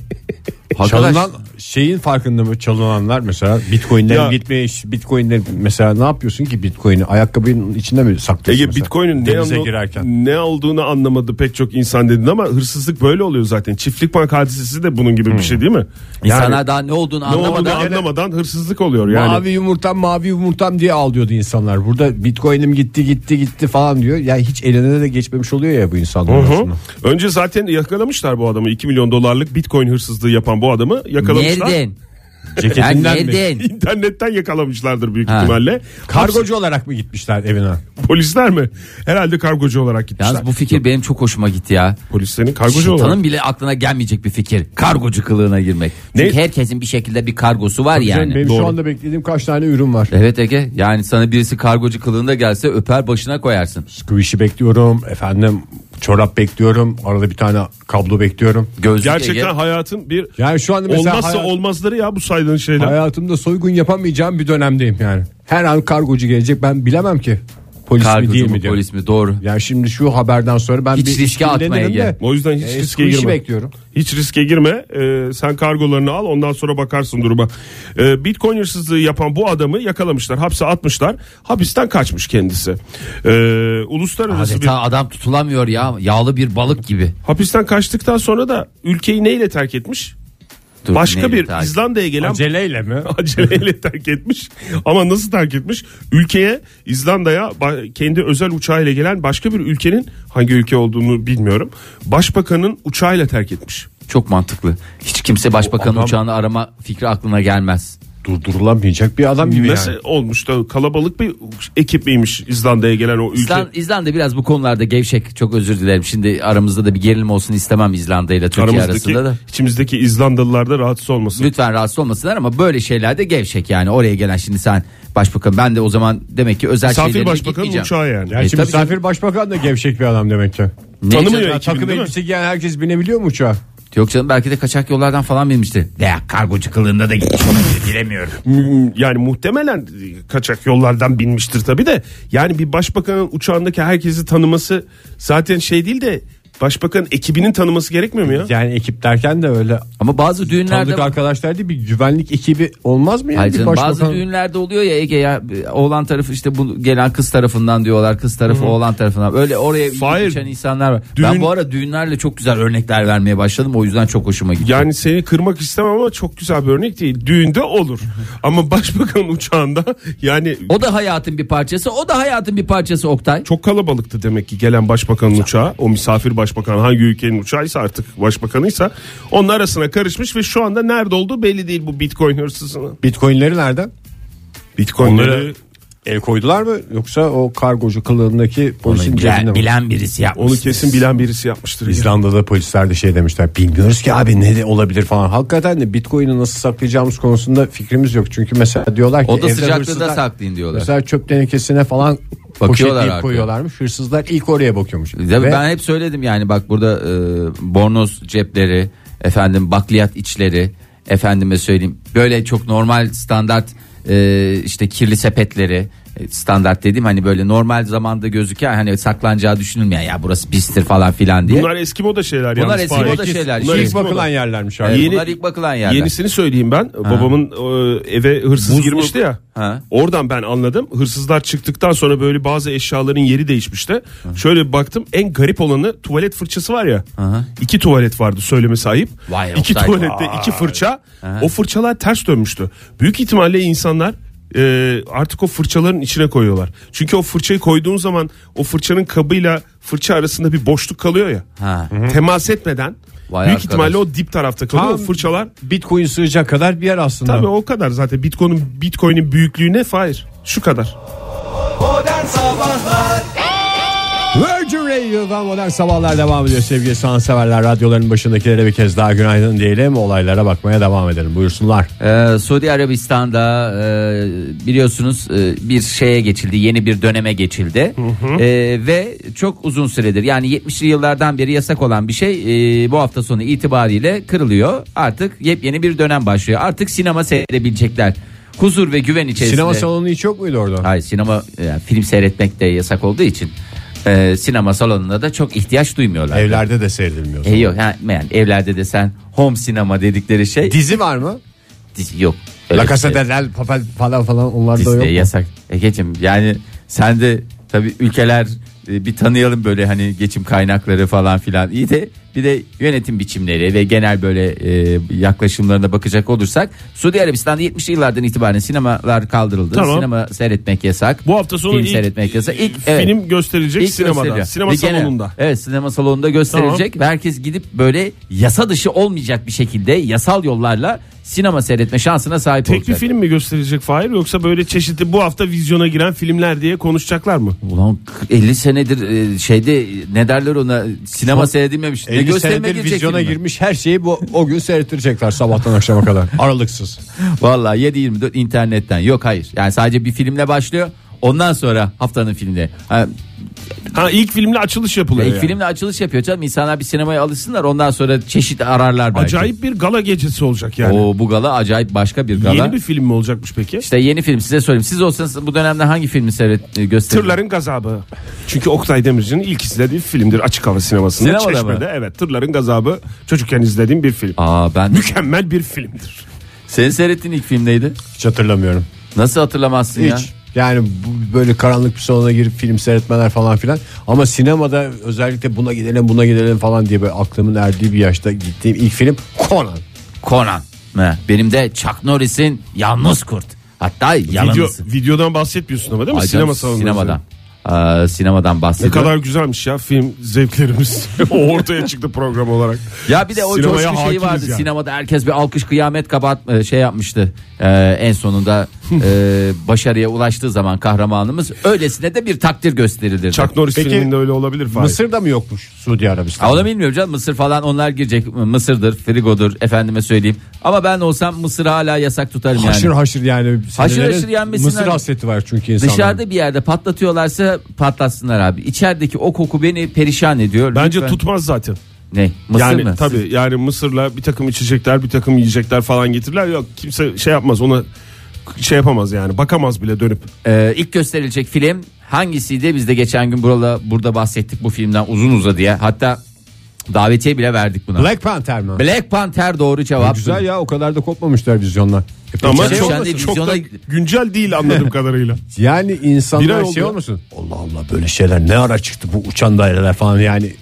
Speaker 4: Arkadaş,
Speaker 3: Çalınan şeyin farkında mı çalınanlar mesela bitcoinlerin
Speaker 5: Ya-
Speaker 3: gitmiş bitcoinleri mesela ne yapıyorsun ki bitcoini ayakkabının içinde mi saklıyorsun?
Speaker 5: Ege
Speaker 3: mesela?
Speaker 5: bitcoin'in ne,
Speaker 3: Denize
Speaker 5: anla-
Speaker 3: girerken.
Speaker 5: ne olduğunu anlamadı pek çok insan dedin ama hırsızlık böyle oluyor zaten. Çiftlik bank hadisesi de bunun gibi bir şey değil mi?
Speaker 4: insanlar daha ne olduğunu
Speaker 5: ne olduğunu
Speaker 4: anlamadan
Speaker 5: anlamadan hırsızlık oluyor yani.
Speaker 3: Mavi yumurtam mavi yumurtam diye ağlıyordu insanlar. Burada bitcoin'im gitti gitti gitti falan diyor. Ya hiç eline de geçmemiş oluyor ya bu insanlar
Speaker 5: Hı.
Speaker 3: aslında.
Speaker 5: Önce zaten yakalamışlar bu adamı. 2 milyon dolarlık bitcoin hırsızlığı yapan bu adamı yakalamışlar.
Speaker 4: nereden?
Speaker 3: Ceketinden
Speaker 4: Ya
Speaker 3: mi?
Speaker 4: nereden?
Speaker 5: İnternetten yakalamışlardır büyük
Speaker 4: Ha.
Speaker 5: ihtimalle.
Speaker 3: Kargocu olarak mı gitmişler evine?
Speaker 5: Hapis- Polisler mi? Herhalde kargocu olarak gitmişler.
Speaker 4: Yalnız bu fikir benim çok hoşuma gitti ya.
Speaker 5: Polislerin kargocu olarak.
Speaker 4: Şeytanın bile aklına gelmeyecek bir fikir. Kargocu kılığına girmek. Çünkü
Speaker 5: Ne?
Speaker 4: herkesin bir şekilde bir kargosu var yani.
Speaker 3: Benim şu
Speaker 5: Doğru.
Speaker 3: anda beklediğim kaç tane ürün var.
Speaker 4: Evet Ege yani sana birisi kargocu kılığında gelse öper başına koyarsın.
Speaker 3: Squishy bekliyorum efendim çorap bekliyorum arada bir tane kablo bekliyorum.
Speaker 4: Gözlük
Speaker 5: Gerçekten
Speaker 4: Ege.
Speaker 5: hayatın bir
Speaker 3: Yani şu anda mesela
Speaker 5: olmazsa
Speaker 3: hayat-
Speaker 5: olmazları ya bu saydığın şeyler.
Speaker 3: Hayatımda soygun yapamayacağım bir dönemdeyim yani. Her an kargocu gelecek ben bilemem ki polis mi
Speaker 4: Kargocu
Speaker 3: değil
Speaker 4: mu
Speaker 3: mi diyor.
Speaker 4: polis mi doğru.
Speaker 3: Yani şimdi şu haberden sonra ben
Speaker 4: Hiç
Speaker 3: bir
Speaker 4: riske atma
Speaker 3: ilgilenirim
Speaker 4: Ege.
Speaker 3: de.
Speaker 5: O yüzden hiç
Speaker 3: E,
Speaker 5: riske
Speaker 3: squishy
Speaker 5: girme.
Speaker 3: bekliyorum.
Speaker 5: Hiç riske girme. Ee, sen kargolarını al ondan sonra bakarsın duruma. Ee, Bitcoin hırsızlığı yapan bu adamı yakalamışlar. Hapse atmışlar. Hapisten kaçmış kendisi. Ee, uluslararası bir
Speaker 4: Adeta adam tutulamıyor ya yağlı bir balık gibi.
Speaker 5: Hapisten kaçtıktan sonra da ülkeyi neyle terk etmiş?
Speaker 4: Dur,
Speaker 5: Başka
Speaker 4: neyle
Speaker 5: bir
Speaker 4: takip-
Speaker 5: İzlanda'ya gelen
Speaker 3: Aceleyle mi?
Speaker 5: aceleyle terk etmiş. Ama nasıl terk etmiş? Ülkeye İzlanda'ya ba- kendi özel uçağıyla gelen başka bir ülkenin hangi ülke olduğunu bilmiyorum. Başbakanın uçağıyla terk etmiş.
Speaker 4: Çok mantıklı. Hiç kimse başbakanın uçağını arama fikri aklına gelmez.
Speaker 3: durdurulamayacak bir adam gibi
Speaker 5: Nasıl
Speaker 3: yani.
Speaker 5: olmuş da kalabalık bir ekip miymiş İzlanda'ya gelen o ülke?
Speaker 4: İzlan- İzlanda biraz bu konularda gevşek. Çok özür dilerim. Şimdi aramızda da bir gerilim olsun istemem İzlanda ile Türkiye
Speaker 5: Aramızdaki,
Speaker 4: arasında da.
Speaker 5: içimizdeki İzlandalılar da rahatsız olmasın.
Speaker 4: Lütfen şey rahatsız olmasınlar ama böyle şeylerde gevşek yani. Oraya gelen şimdi sen başbakan ben de o zaman demek ki özel
Speaker 5: Misafir
Speaker 4: şeylerine
Speaker 5: başbakanın
Speaker 4: gitmeyeceğim.
Speaker 5: uçağı yani.
Speaker 3: Yani
Speaker 4: E,
Speaker 3: şimdi
Speaker 4: tabii
Speaker 3: misafir başbakan da gevşek bir adam demek ki.
Speaker 5: Tanımıyor
Speaker 3: Ya,
Speaker 5: ekibini
Speaker 3: takım
Speaker 5: değil mi?
Speaker 3: elbise giyen herkes binebiliyor mu uçağa?
Speaker 4: Yok canım belki de kaçak yollardan falan binmişti. Ya kargocu kılığında da gitmiş olabilir bilemiyorum.
Speaker 5: M- yani muhtemelen kaçak yollardan binmiştir tabii de yani bir başbakanın uçağındaki herkesi tanıması zaten şey değil de başbakanın ekibinin tanıması gerekmiyor mu ya?
Speaker 3: Yani ekip derken de öyle
Speaker 4: Ama bazı düğünlerde
Speaker 3: tanıdık arkadaşlar değil bir güvenlik ekibi olmaz mı? Yani
Speaker 4: Hayır
Speaker 3: bir
Speaker 4: canım, bazı
Speaker 3: başbakan-
Speaker 4: düğünlerde oluyor ya Ege ya oğlan tarafı işte bu gelen kız tarafından diyorlar kız tarafı oğlan tarafından öyle oraya
Speaker 5: Hayır.
Speaker 4: geçen insanlar var.
Speaker 5: Düğün-
Speaker 4: Ben bu ara düğünlerle çok güzel örnekler vermeye başladım o yüzden çok hoşuma gitti.
Speaker 5: Yani seni kırmak istemem ama çok güzel bir örnek değil. Düğünde olur. Ama başbakanın uçağında yani
Speaker 4: O da hayatın bir parçası o da hayatın bir parçası Oktay.
Speaker 5: çok kalabalıktı demek ki gelen başbakanın uçağı. O misafir başbakan hangi ülkenin uçağıysa artık başbakanıysa onun arasına karışmış ve şu anda nerede olduğu belli değil bu bitcoin hırsızının.
Speaker 3: Bitcoinleri nereden?
Speaker 5: Bitcoinleri
Speaker 3: El koydular mı yoksa o kargocu kılığındaki polisin cebinde
Speaker 4: Bilen,
Speaker 3: mi?
Speaker 4: bilen birisi yapmış.
Speaker 5: onu kesin bilen birisi yapmıştır.
Speaker 3: İzlanda'da polisler de şey demişler bilmiyoruz ki abi ne de olabilir falan. Hakikaten de bitcoin'i nasıl saklayacağımız konusunda fikrimiz yok. Çünkü mesela diyorlar ki
Speaker 4: O da
Speaker 3: evde
Speaker 4: sıcaklığında
Speaker 3: hırsızlar-
Speaker 4: saklayın diyorlar.
Speaker 3: Mesela çöp tenekesine falan
Speaker 4: Bakıyorlar
Speaker 3: poşetleyip
Speaker 4: arkaya.
Speaker 3: koyuyorlarmış. Hırsızlar ilk oraya bakıyormuş.
Speaker 4: Tabii
Speaker 3: Ve
Speaker 4: ben hep söyledim yani bak burada e, bornoz cepleri, efendim bakliyat içleri, efendime söyleyeyim böyle çok normal standart e, işte kirli sepetleri e, standart dediğim hani böyle normal zamanda gözüken hani saklanacağı düşünülmeyen ya burası pistir falan filan diye.
Speaker 5: Bunlar eski moda şeyler
Speaker 4: Bunlar
Speaker 5: yalnız
Speaker 4: eski
Speaker 5: Fahir.
Speaker 4: moda şeyler.
Speaker 5: Bunlar
Speaker 4: Şey,
Speaker 3: ilk
Speaker 5: eski
Speaker 3: bakılan
Speaker 5: moda.
Speaker 3: yerlermiş
Speaker 4: Evet,
Speaker 3: abi.
Speaker 5: yeni-
Speaker 4: bunlar ilk bakılan yerler.
Speaker 5: Yenisini söyleyeyim ben. Babamın e, eve hırsız
Speaker 4: Buzlu-
Speaker 5: girmişti ya.
Speaker 4: Ha.
Speaker 5: Oradan ben anladım. Hırsızlar çıktıktan sonra böyle bazı eşyaların yeri değişmişti. Şöyle bir baktım en garip olanı tuvalet fırçası var ya.
Speaker 4: Aha.
Speaker 5: İki tuvalet vardı söylemesi ayıp.
Speaker 4: Vay,
Speaker 5: iki
Speaker 4: Oktay.
Speaker 5: tuvalette iki fırça. O fırçalar ters dönmüştü. Büyük ihtimalle insanlar e, artık o fırçaların içine koyuyorlar. Çünkü o fırçayı koyduğun zaman o fırçanın kabıyla fırça arasında bir boşluk kalıyor ya.
Speaker 4: Ha.
Speaker 5: Temas etmeden
Speaker 4: Vay
Speaker 5: büyük
Speaker 4: arkadaş.
Speaker 5: ihtimalle o dip tarafta kalıyor.
Speaker 3: Tam
Speaker 5: o fırçalar
Speaker 3: Bitcoin sığacak kadar bir yer aslında.
Speaker 5: Tabii o kadar zaten Bitcoin'in Bitcoin'in büyüklüğü ne Fahir? Şu kadar.
Speaker 2: Modern Sabahlar
Speaker 3: Virgin Radio'dan modern sabahlar devam ediyor sevgili sanatseverler. Radyoların başındakilere bir kez daha günaydın diyelim. Olaylara bakmaya devam edelim. Buyursunlar.
Speaker 4: Ee, Suudi Arabistan'da e, biliyorsunuz e, bir şeye geçildi yeni bir döneme geçildi Ee, ve çok uzun süredir yani 70'li yıllardan beri yasak olan bir şey e, bu hafta sonu itibariyle kırılıyor artık yepyeni bir dönem başlıyor artık sinema seyredebilecekler huzur ve güven içerisinde.
Speaker 3: Sinema salonu hiç yok muydu orada?
Speaker 4: Hayır sinema yani film seyretmek de yasak olduğu için e, sinema salonuna da çok ihtiyaç duymuyorlar.
Speaker 3: Evlerde de seyredilmiyor.
Speaker 4: E, yok ha, yani evlerde de sen home sinema dedikleri şey
Speaker 3: Dizi var mı?
Speaker 4: Dizi- yok. Öyle
Speaker 3: La
Speaker 4: bir
Speaker 3: Casa
Speaker 4: şey.
Speaker 3: de Papel falan falan onlar da
Speaker 4: Disney
Speaker 3: yok. mu?
Speaker 4: E, yasak. Egeciğim yani sen de tabii ülkeler e, bir tanıyalım böyle hani geçim kaynakları falan filan. İyi de bir de yönetim biçimleri ve genel böyle e, yaklaşımlarına bakacak olursak Suudi Arabistan'da 70'li yıllardan itibaren sinemalar kaldırıldı.
Speaker 5: Tamam.
Speaker 4: Sinema seyretmek yasak.
Speaker 5: Bu hafta sonu
Speaker 4: film
Speaker 5: ilk,
Speaker 4: seyretmek yasak. İlk evet.
Speaker 5: film gösterilecek
Speaker 4: İlk
Speaker 5: sinemada.
Speaker 4: gösteriliyor.
Speaker 5: Sinema
Speaker 4: Ve genel-
Speaker 5: salonunda.
Speaker 4: evet sinema salonunda gösterilecek ve herkes gidip böyle yasa dışı olmayacak bir şekilde yasal yollarla sinema seyretme şansına sahip
Speaker 5: Tek bir
Speaker 4: olacak.
Speaker 5: film mi gösterilecek Fahir yoksa böyle çeşitli bu hafta vizyona giren filmler diye konuşacaklar mı?
Speaker 4: Ulan 50 senedir e, şeyde e, ne derler ona sinema seyredilmemiş. Ne
Speaker 3: 50
Speaker 4: gösterime
Speaker 3: senedir
Speaker 4: girecek
Speaker 3: vizyona
Speaker 4: film mi?
Speaker 3: girmiş her şeyi bu o gün seyrettirecekler sabahtan akşama kadar. Aralıksız.
Speaker 4: Vallahi 7-24 internetten yok hayır. Yani sadece bir filmle başlıyor. Ondan sonra haftanın filmleri. Ha,
Speaker 5: Ha ilk filmle açılış yapılıyor.
Speaker 4: ilk
Speaker 5: yani.
Speaker 4: filmle açılış yapıyor canım. İnsanlar bir sinemaya alışsınlar. Ondan sonra çeşit ararlar belki.
Speaker 5: Acayip bir gala gecesi olacak yani.
Speaker 4: Oo, bu gala acayip başka bir gala.
Speaker 5: Yeni bir film mi olacakmış peki?
Speaker 4: İşte yeni film size söyleyeyim. Siz olsanız bu dönemde hangi filmi seyret e, gösterir?
Speaker 5: Tırların Gazabı. Çünkü Oktay Demirci'nin ilk izlediği filmdir açık hava sinemasında.
Speaker 4: Sinemada mı?
Speaker 5: Çeşme'de evet Tırların Gazabı çocukken izlediğim bir film.
Speaker 4: Aa ben
Speaker 5: Mükemmel bir filmdir.
Speaker 4: senin seyrettiğin ilk film neydi?
Speaker 3: Hiç hatırlamıyorum.
Speaker 4: Nasıl hatırlamazsın ya?
Speaker 3: Hiç. Yani bu- böyle karanlık bir salona girip film seyretmeler falan filan. Ama sinemada özellikle buna gidelim buna gidelim falan diye böyle aklımın erdiği bir yaşta gittiğim ilk film Conan.
Speaker 4: Conan. He, Benim de Chuck Norris'in Yalnız Kurt. Hatta
Speaker 5: Video,
Speaker 4: Yalnız.
Speaker 5: videodan bahsetmiyorsun ama değil mi?
Speaker 4: Ay canım,
Speaker 5: Sinema salonunda.
Speaker 4: Sinemadan. e, sinemadan
Speaker 5: Ne
Speaker 4: bahsediyor.
Speaker 5: kadar güzelmiş ya film zevklerimiz. o ortaya çıktı program olarak.
Speaker 4: Ya bir de o
Speaker 5: Sinemaya
Speaker 4: coşku şeyi
Speaker 5: hakimiz
Speaker 4: vardı.
Speaker 5: yani.
Speaker 4: Sinemada herkes bir alkış kıyamet kabat e, şey yapmıştı. E, en sonunda e, başarıya ulaştığı zaman kahramanımız öylesine de bir takdir gösterilir.
Speaker 5: Chuck Norris
Speaker 3: Peki,
Speaker 5: filminde öyle olabilir. Fahir.
Speaker 3: Mısır'da mı yokmuş Suudi Arabistan?
Speaker 4: Onu bilmiyorum canım Mısır falan onlar girecek Mısır'dır frigodur efendime söyleyeyim Ama ben olsam Mısır hala yasak tutarım yani
Speaker 3: Haşır haşır yani. senelere
Speaker 4: haşır yenmesinler.
Speaker 3: Mısır hasreti var çünkü insanların.
Speaker 4: Dışarıda bir yerde patlatıyorlarsa patlatsınlar abi İçerideki o koku beni perişan ediyor
Speaker 5: Bence
Speaker 4: Lütfen.
Speaker 5: tutmaz zaten.
Speaker 4: Ne Mısır
Speaker 5: yani
Speaker 4: mı?
Speaker 5: tabii yani Mısır'la bir takım içecekler bir takım yiyecekler falan getirirler. Yok kimse şey yapmaz ona şey yapamaz yani bakamaz bile dönüp.
Speaker 4: Ee, ilk gösterilecek film hangisiydi? Biz de geçen gün burada burada bahsettik bu filmden uzun uzadıya. Hatta davetiye bile verdik buna. Black,
Speaker 3: Black Panther mı? E,
Speaker 4: Panther doğru cevap.
Speaker 3: Güzel ya o kadar da kopmamışlar vizyonlar. E
Speaker 5: Ama
Speaker 4: canım,
Speaker 5: çok,
Speaker 4: sen de
Speaker 5: çok da
Speaker 4: vizyona-
Speaker 5: güncel değil anladığım kadarıyla.
Speaker 3: Yani insanlar
Speaker 5: Bir ay
Speaker 3: şey
Speaker 5: oldu.
Speaker 3: olmasın. Allah Allah böyle şeyler ne ara çıktı bu uçan daireler falan yani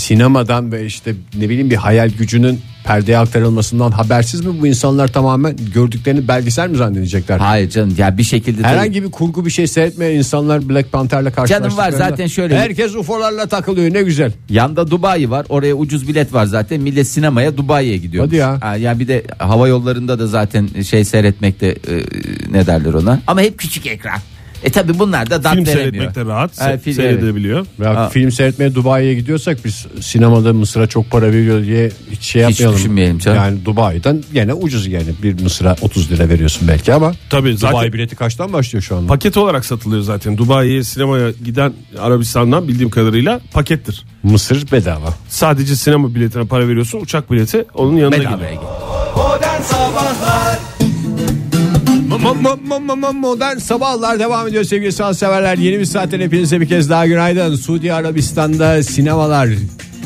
Speaker 3: sinemadan ve işte ne bileyim bir hayal gücünün perdeye aktarılmasından habersiz mi bu insanlar tamamen gördüklerini belgesel mi zannedecekler?
Speaker 4: Hayır canım ya bir şekilde tabii-
Speaker 3: Herhangi bir kurgu bir şey seyretmeyen insanlar Black Panther'la karşılaştıklarında
Speaker 4: zaten şöyle-
Speaker 3: Herkes UFO'larla takılıyor ne güzel.
Speaker 4: Yanda Dubai var. Oraya ucuz bilet var zaten. Millet sinemaya Dubai'ye gidiyor.
Speaker 3: Hadi ya.
Speaker 4: Ha, ya bir de hava yollarında da zaten şey seyretmekte e, ne derler ona? Ama hep küçük ekran. E tabi bunlar da dat
Speaker 5: film
Speaker 4: veremiyor.
Speaker 5: seyretmekte rahat
Speaker 4: Ha,
Speaker 5: se-
Speaker 4: film-
Speaker 5: seyredebiliyor.
Speaker 3: Ya
Speaker 4: Aa.
Speaker 3: film seyretmeye Dubai'ye gidiyorsak biz sinemada Mısır'a çok para veriyor diye hiç şey yapmayalım.
Speaker 4: düşünmeyelim canım.
Speaker 3: Yani Dubai'den gene ucuz yani bir Mısır'a 30 lira veriyorsun belki ama.
Speaker 5: Tabii zaten
Speaker 3: Dubai bileti kaçtan başlıyor şu anda?
Speaker 5: paket olarak satılıyor zaten. Dubai'ye sinemaya giden Arabistan'dan bildiğim kadarıyla pakettir.
Speaker 3: Mısır bedava.
Speaker 5: Sadece sinema biletine para veriyorsun uçak bileti onun yanına
Speaker 4: Bedavaya
Speaker 5: gidiyor.
Speaker 4: gidiyor.
Speaker 2: Modern Sabahlar
Speaker 3: Modern sabahlar devam ediyor sevgili sanatseverler. Yeni bir saatten hepinize bir kez daha günaydın. Suudi Arabistan'da sinemalar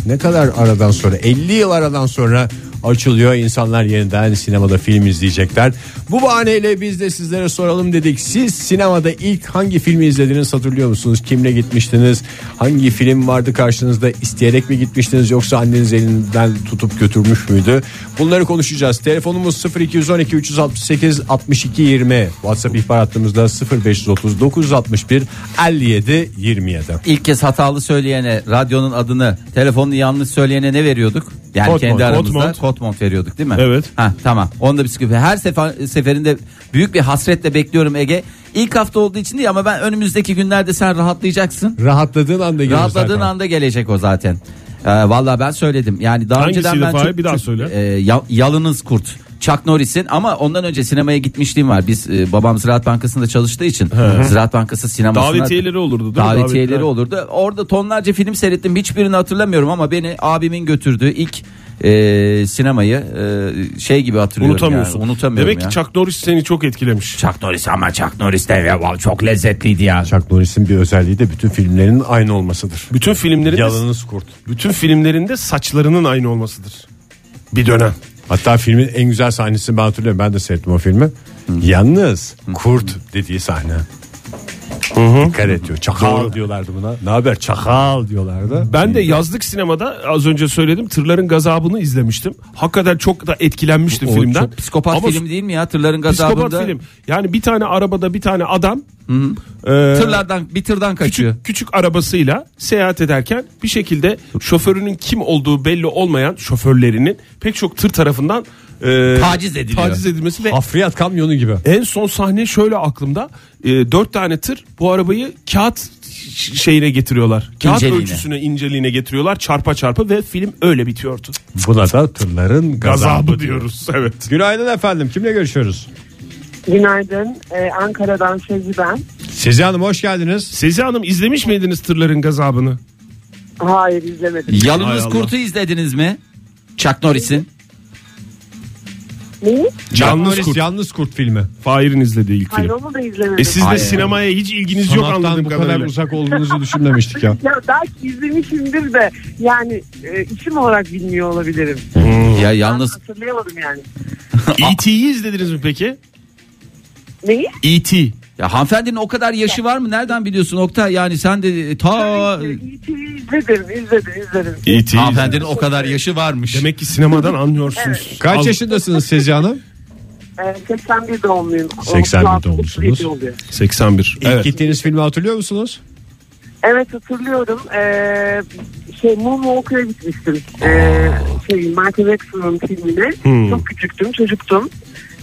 Speaker 3: ne kadar aradan sonra 50 yıl aradan sonra açılıyor. İnsanlar yeniden sinemada film izleyecekler. Bu bahaneyle biz de sizlere soralım dedik. Siz sinemada ilk hangi filmi izlediniz hatırlıyor musunuz? Kimle gitmiştiniz? Hangi film vardı karşınızda? İsteyerek mi gitmiştiniz yoksa anneniz elinden tutup götürmüş müydü? Bunları konuşacağız. Telefonumuz 0212 368 62 20. WhatsApp ihbar hattımızda 0530 961 57 27.
Speaker 4: İlk kez hatalı söyleyene radyonun adını telefonunu yanlış söyleyene ne veriyorduk? Yani
Speaker 5: Kotmont,
Speaker 4: kendi aramızda
Speaker 5: Kotmont.
Speaker 4: Kotmont veriyorduk değil mi?
Speaker 5: Evet.
Speaker 4: Ha tamam. Onda bir sıkıntı. Her sefer, seferinde büyük bir hasretle bekliyorum Ege. İlk hafta olduğu için değil ama ben önümüzdeki günlerde sen rahatlayacaksın.
Speaker 3: Rahatladığın anda gelir
Speaker 4: Rahatladığın
Speaker 3: zaten.
Speaker 4: anda gelecek o zaten. Ee, Valla ben söyledim. Yani daha
Speaker 5: Hangisiydi
Speaker 4: önceden ben
Speaker 5: Fahri?
Speaker 4: çok-
Speaker 5: Bir daha
Speaker 4: çok-
Speaker 5: söyle.
Speaker 4: e, ya- yalınız kurt. Chuck Norris'in ama ondan önce sinemaya gitmişliğim var. Biz e, babam Ziraat Bankası'nda çalıştığı için Ziraat Bankası sinemasına
Speaker 5: Davetiyeleri olurdu değil mi?
Speaker 4: davetiyeleri
Speaker 5: Davetiyeler.
Speaker 4: olurdu. Orada tonlarca film seyrettim. Hiçbirini hatırlamıyorum ama beni abimin götürdüğü ilk e, sinemayı e, şey gibi hatırlıyorum.
Speaker 5: Unutamıyorsun.
Speaker 4: Yani. Unutamıyorum
Speaker 5: Demek
Speaker 4: ya.
Speaker 5: ki Chuck Norris seni çok etkilemiş.
Speaker 4: Chuck Norris ama Chuck Norris de ya, vav, çok lezzetliydi ya.
Speaker 3: Chuck Norris'in bir özelliği de bütün filmlerin aynı olmasıdır.
Speaker 5: Bütün filmlerinde
Speaker 3: Yalınız kurt.
Speaker 5: bütün filmlerinde saçlarının aynı olmasıdır. Bir dönem.
Speaker 3: Hatta filmin en güzel sahnesini ben hatırlıyorum. Ben de seyrettim o filmi. Yalnız kurt dediği sahne. Dikkat et diyor. Çakal diyorlardı buna. Ne haber çakal diyorlardı.
Speaker 5: Ben de yazlık sinemada az önce söyledim Tırların Gazabı'nı izlemiştim. Hakikaten çok da etkilenmiştim
Speaker 4: O
Speaker 5: filmden.
Speaker 4: çok psikopat
Speaker 5: Ama
Speaker 4: film değil mi ya? Tırların gazabında.
Speaker 5: Psikopat film. Yani bir tane arabada bir tane adam e,
Speaker 4: Tırlardan bir tırdan kaçıyor.
Speaker 5: küçük, küçük arabasıyla seyahat ederken bir şekilde şoförünün kim olduğu belli olmayan şoförlerinin pek çok tır tarafından e,
Speaker 4: Taciz ediliyor.
Speaker 5: taciz edilmesi ve
Speaker 3: Afriyat kamyonu gibi.
Speaker 5: en son sahne şöyle aklımda. E, dört tane tır bu arabayı kağıt ş- şeyine getiriyorlar. Kağıt
Speaker 4: İnceliğine.
Speaker 5: ölçüsüne inceliğine getiriyorlar çarpa çarpa ve film öyle bitiyordu.
Speaker 3: Buna da tırların gazabı,
Speaker 5: Gazabı
Speaker 3: diyoruz.
Speaker 5: diyoruz evet.
Speaker 3: Günaydın efendim. Kimle görüşüyoruz?
Speaker 6: Günaydın. Ee, Ankara'dan Sezi ben.
Speaker 3: Sezi Hanım hoş geldiniz.
Speaker 5: Sezi Hanım izlemiş miydiniz tırların gazabını?
Speaker 6: Hayır izlemedim.
Speaker 5: Hay
Speaker 4: Yalınız
Speaker 5: Allah.
Speaker 4: Kurt'u izlediniz mi? Chuck Norris'in.
Speaker 6: Neyi?
Speaker 5: Yalnız kurt.
Speaker 3: Yalnız kurt filmi.
Speaker 5: Fahir'in izlediği ilk
Speaker 6: Hayır
Speaker 5: film.
Speaker 6: onu da izlemedim.
Speaker 5: E siz de
Speaker 4: Hayır.
Speaker 5: sinemaya hiç ilginiz yok
Speaker 3: Sanattan
Speaker 5: anladığım
Speaker 3: bu kadar
Speaker 5: kadarıyla.
Speaker 3: uzak olduğunuzu düşünmemiştik ya.
Speaker 6: Ya belki izlemişimdir de yani e, isim olarak bilmiyor olabilirim.
Speaker 4: Ya
Speaker 6: Ben
Speaker 4: yalnız
Speaker 6: hatırlayamadım yani.
Speaker 5: E.T.'yi E izlediniz mi peki?
Speaker 6: Neyi?
Speaker 5: E.T.
Speaker 4: E ya hanımefendinin o kadar yaşı var mı? Nereden biliyorsun Oktay? Yani sen de e, ta
Speaker 6: Tabii ki, E.T.'yi E izledim, izledim, izledim.
Speaker 4: E
Speaker 5: E.T.
Speaker 4: hanımefendinin o kadar yaşı varmış.
Speaker 5: Demek ki sinemadan anlıyorsunuz.
Speaker 3: Kaç
Speaker 5: Al-
Speaker 3: yaşındasınız Sezi Hanım?
Speaker 6: Ee, 81 doğumluyum.
Speaker 3: 81
Speaker 6: 36,
Speaker 3: doğumlusunuz.
Speaker 6: 37 oluyor.
Speaker 5: 81.
Speaker 3: İlk gittiğiniz filmi hatırlıyor musunuz?
Speaker 6: Evet hatırlıyorum. Ee, şey Moon Walker'a gitmiştim. Ee, şey, Michael Jackson'ın filmine. Çok küçüktüm, çocuktum.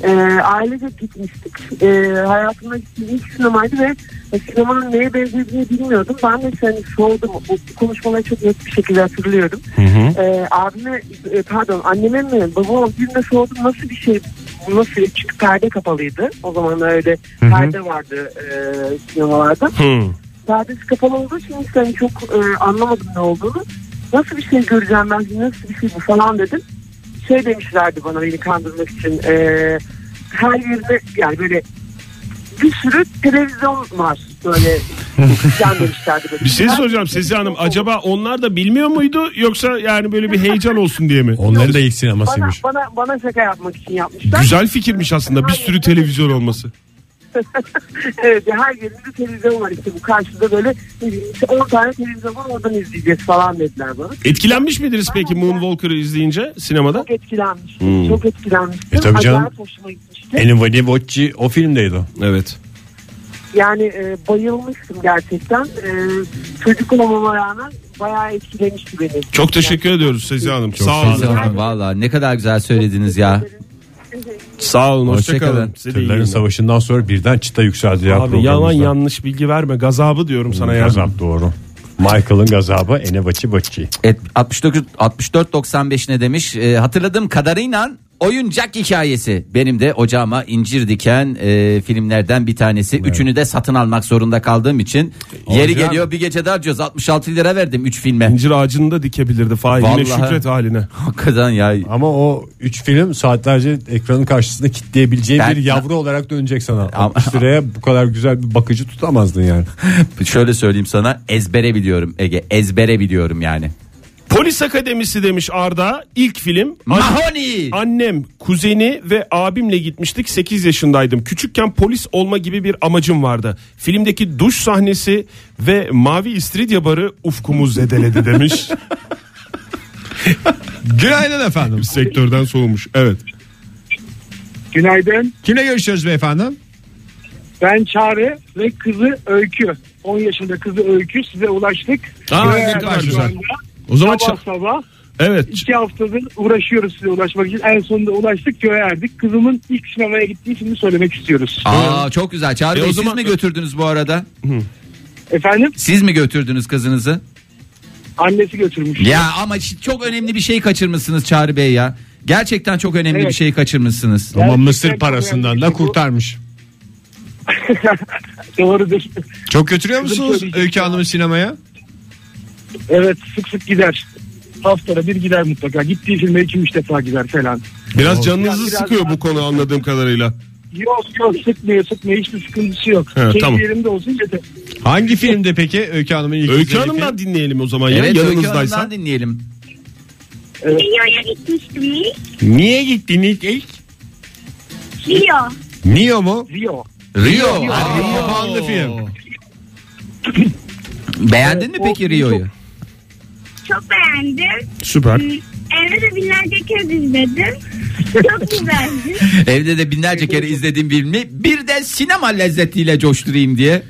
Speaker 6: Ee, ailece gitmiştik. Ee, hayatımda gittiğim ilk sinemaydı ve sinemanın neye benzediğini bilmiyordum. Ben de hani sordum. Bu bu konuşmaları çok net bir şekilde hatırlıyorum. Ee, abime, e, pardon anneme mi babama birine sordum nasıl bir şey bu nasıl çünkü perde kapalıydı. O zaman öyle perde vardı e, sinemalarda perdesi kapalı olduğu için hiç hani çok e, anlamadım ne olduğunu. Nasıl bir şey göreceğim ben nasıl bir şey bu falan dedim. Şey demişlerdi bana beni kandırmak için e, her yerde yani böyle bir sürü televizyon var böyle yan demişlerdi. Böyle.
Speaker 5: Bir şey
Speaker 6: Her-
Speaker 5: soracağım Sesi Hanım. Acaba onlar da bilmiyor muydu yoksa yani böyle bir heyecan olsun diye mi?
Speaker 7: Onların da ilk
Speaker 6: bana,
Speaker 7: sinemasıymış.
Speaker 6: bana, bana şaka yapmak için yapmışlar.
Speaker 5: Güzel fikirmiş aslında bir sürü televizyon olması.
Speaker 6: evet, her yerinde televizyon var işte bu karşıda böyle ne bileyim, işte 10 tane televizyon var oradan izleyeceğiz falan dediler bana.
Speaker 5: Etkilenmiş miydiniz peki Moonwalker'ı izleyince sinemada?
Speaker 6: Çok etkilenmiştim.
Speaker 5: Hmm.
Speaker 6: Çok etkilenmiştim.
Speaker 7: E tabii canım.
Speaker 6: Acayip hoşuma gitmişti.
Speaker 7: Anybody Watch'i o filmdeydi o.
Speaker 5: Evet.
Speaker 6: Yani e, bayılmıştım gerçekten. E, çocuk olmama rağmen bayağı etkilemişti beni.
Speaker 5: Çok teşekkür ediyoruz Sezi Hanım. sağ olun.
Speaker 4: Sezi Hanım valla ne kadar güzel söylediniz ya.
Speaker 5: Sağ olun.
Speaker 4: Hoşça kalın.
Speaker 5: Hoşçakalın. Size de iyi
Speaker 7: Tırların
Speaker 5: günler.
Speaker 7: savaşından sonra birden çıta yükseldi ya
Speaker 5: Abi yalan yanlış bilgi verme. Gazabı diyorum sana ya.
Speaker 7: Gazap doğru. Michael'ın gazabı Enevaçi Baçi.
Speaker 4: Et, 69 64 95 ne demiş? Ee, hatırladığım kadarıyla oyuncak hikayesi. Benim de ocağıma incir diken e, filmlerden bir tanesi. Üçünü de satın almak zorunda kaldığım için yeri
Speaker 5: Olacak.
Speaker 4: geliyor bir gece harcıyoruz. 66 lira verdim 3 filme.
Speaker 5: İncir ağacını da dikebilirdi. Fahir yine
Speaker 4: Vallahi.
Speaker 5: Şükret haline.
Speaker 4: Hakikaten ya.
Speaker 7: Ama o üç film saatlerce ekranın karşısında kitleyebileceği
Speaker 4: Ben-
Speaker 7: bir yavru olarak dönecek sana.
Speaker 4: Ama-
Speaker 7: 60 liraya bu kadar güzel bir bakıcı tutamazdın yani.
Speaker 4: Şöyle söyleyeyim sana ezbere biliyorum Ege. Ezbere biliyorum yani.
Speaker 5: Polis Akademisi demiş Arda. İlk film.
Speaker 4: Mahoney.
Speaker 5: Annem, kuzeni ve abimle gitmiştik. 8 yaşındaydım. Küçükken polis olma gibi bir amacım vardı. Filmdeki duş sahnesi ve mavi istiridye barı ufkumu zedeledi demiş.
Speaker 3: Günaydın efendim.
Speaker 5: Sektörden soğumuş. Evet.
Speaker 8: Günaydın.
Speaker 3: Kimle görüşüyoruz beyefendi?
Speaker 8: Ben Çağrı ve kızı Öykü. 10 yaşında kızı Öykü size ulaştık.
Speaker 5: Aa,
Speaker 8: Ve
Speaker 5: ne kadar
Speaker 8: şu
Speaker 5: güzel.
Speaker 8: anda
Speaker 5: O zaman
Speaker 8: sabah
Speaker 5: ça-
Speaker 8: sabah
Speaker 5: evet.
Speaker 8: iki haftadır uğraşıyoruz size ulaşmak için. En sonunda ulaştık köye erdik. Kızımın ilk sinemaya gittiği şimdi söylemek istiyoruz.
Speaker 4: Aa çok güzel. Çağrı
Speaker 5: E, o
Speaker 4: Bey
Speaker 5: zaman-
Speaker 4: siz mi götürdünüz bu arada?
Speaker 8: Efendim
Speaker 4: Siz mi götürdünüz kızınızı?
Speaker 8: annesi götürmüş.
Speaker 4: Ya ama şi- çok önemli bir şey kaçırmışsınız Çağrı Bey ya. Gerçekten çok önemli
Speaker 8: Evet.
Speaker 4: bir şey kaçırmışsınız.
Speaker 7: Ama
Speaker 8: Gerçekten
Speaker 7: mısır
Speaker 8: çok
Speaker 7: parasından
Speaker 8: önemli.
Speaker 7: da
Speaker 8: Bu-
Speaker 7: kurtarmış.
Speaker 8: Doğrudur.
Speaker 3: Çok götürüyor musunuz
Speaker 8: söyleyecek
Speaker 3: Öykü Hanım'ı sinemaya?
Speaker 8: Evet sık sık gider. Haftada bir gider mutlaka. Gittiği filme iki üç defa gider falan.
Speaker 5: Biraz canınızı
Speaker 8: Biraz-
Speaker 5: sıkıyor bu konu anladığım kadarıyla.
Speaker 8: Yok yok sıkmıyor sıkmıyor hiçbir sıkıntısı yok.
Speaker 5: He,
Speaker 8: Keyfi
Speaker 5: tamam.
Speaker 8: yerinde olsun yeter.
Speaker 3: Hangi filmde peki Öykü Hanım'ın ilk
Speaker 5: Öykü
Speaker 3: izlediği
Speaker 5: Hanım'dan
Speaker 3: film?
Speaker 5: dinleyelim o zaman.
Speaker 4: Evet
Speaker 5: ya,
Speaker 4: Öykü
Speaker 5: yanınızdaysa.
Speaker 4: Hanım'dan dinleyelim.
Speaker 9: Rio'ya gitmiştim.
Speaker 7: Niye gittin ilk ilk?
Speaker 9: Rio.
Speaker 7: Neo mu?
Speaker 8: Rio.
Speaker 4: Rio.
Speaker 3: Aa, Rio puanlı film.
Speaker 4: Beğendin mi peki Rio'yu?
Speaker 9: Çok beğendim.
Speaker 5: Süper.
Speaker 9: Evde de binlerce kez izledim. Çok güzeldi.
Speaker 4: Evde de binlerce kere izlediğim filmi bir de sinema lezzetiyle coşturayım diye.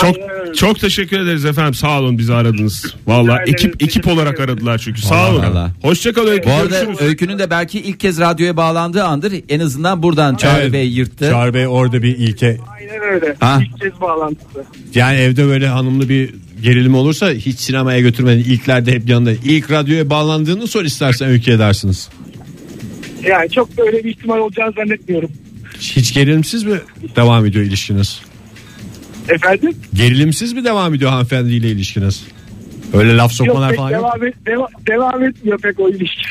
Speaker 5: Çok çok teşekkür ederiz efendim. Sağ olun bizi aradınız. Vallahi
Speaker 8: ederiz.
Speaker 5: ekip ekip olarak aradılar çünkü. Sağ
Speaker 4: Vallahi
Speaker 5: olun.
Speaker 4: vallahi.
Speaker 5: Hoşça kalın.
Speaker 4: Bu
Speaker 5: Öykü.
Speaker 4: arada
Speaker 5: Görüşürüz.
Speaker 4: Öykü'nün de belki ilk kez radyoya bağlandığı andır. En azından buradan Çağrı
Speaker 7: Evet.
Speaker 4: Bey yırttı.
Speaker 7: Çağrı Bey orada bir ilke.
Speaker 8: Aynen öyle.
Speaker 4: Ha.
Speaker 8: İlk kez bağlantısı.
Speaker 7: Yani evde böyle hanımlı bir gerilim olursa hiç sinemaya götürmenin ilklerde hep yanında. İlk radyoya bağlandığını sor istersen Öykü edersiniz.
Speaker 8: Yani çok böyle bir ihtimal olacağını zannetmiyorum.
Speaker 7: Hiç gerilimsiz mi devam ediyor ilişkiniz?
Speaker 8: Efendim?
Speaker 7: Gerilimsiz mi devam ediyor hanımefendiyle ilişkiniz? Öyle laf
Speaker 8: Yok
Speaker 7: sokmalar
Speaker 8: pek
Speaker 7: falan yok.
Speaker 8: devam, et, deva- devam etmiyor pek o ilişki.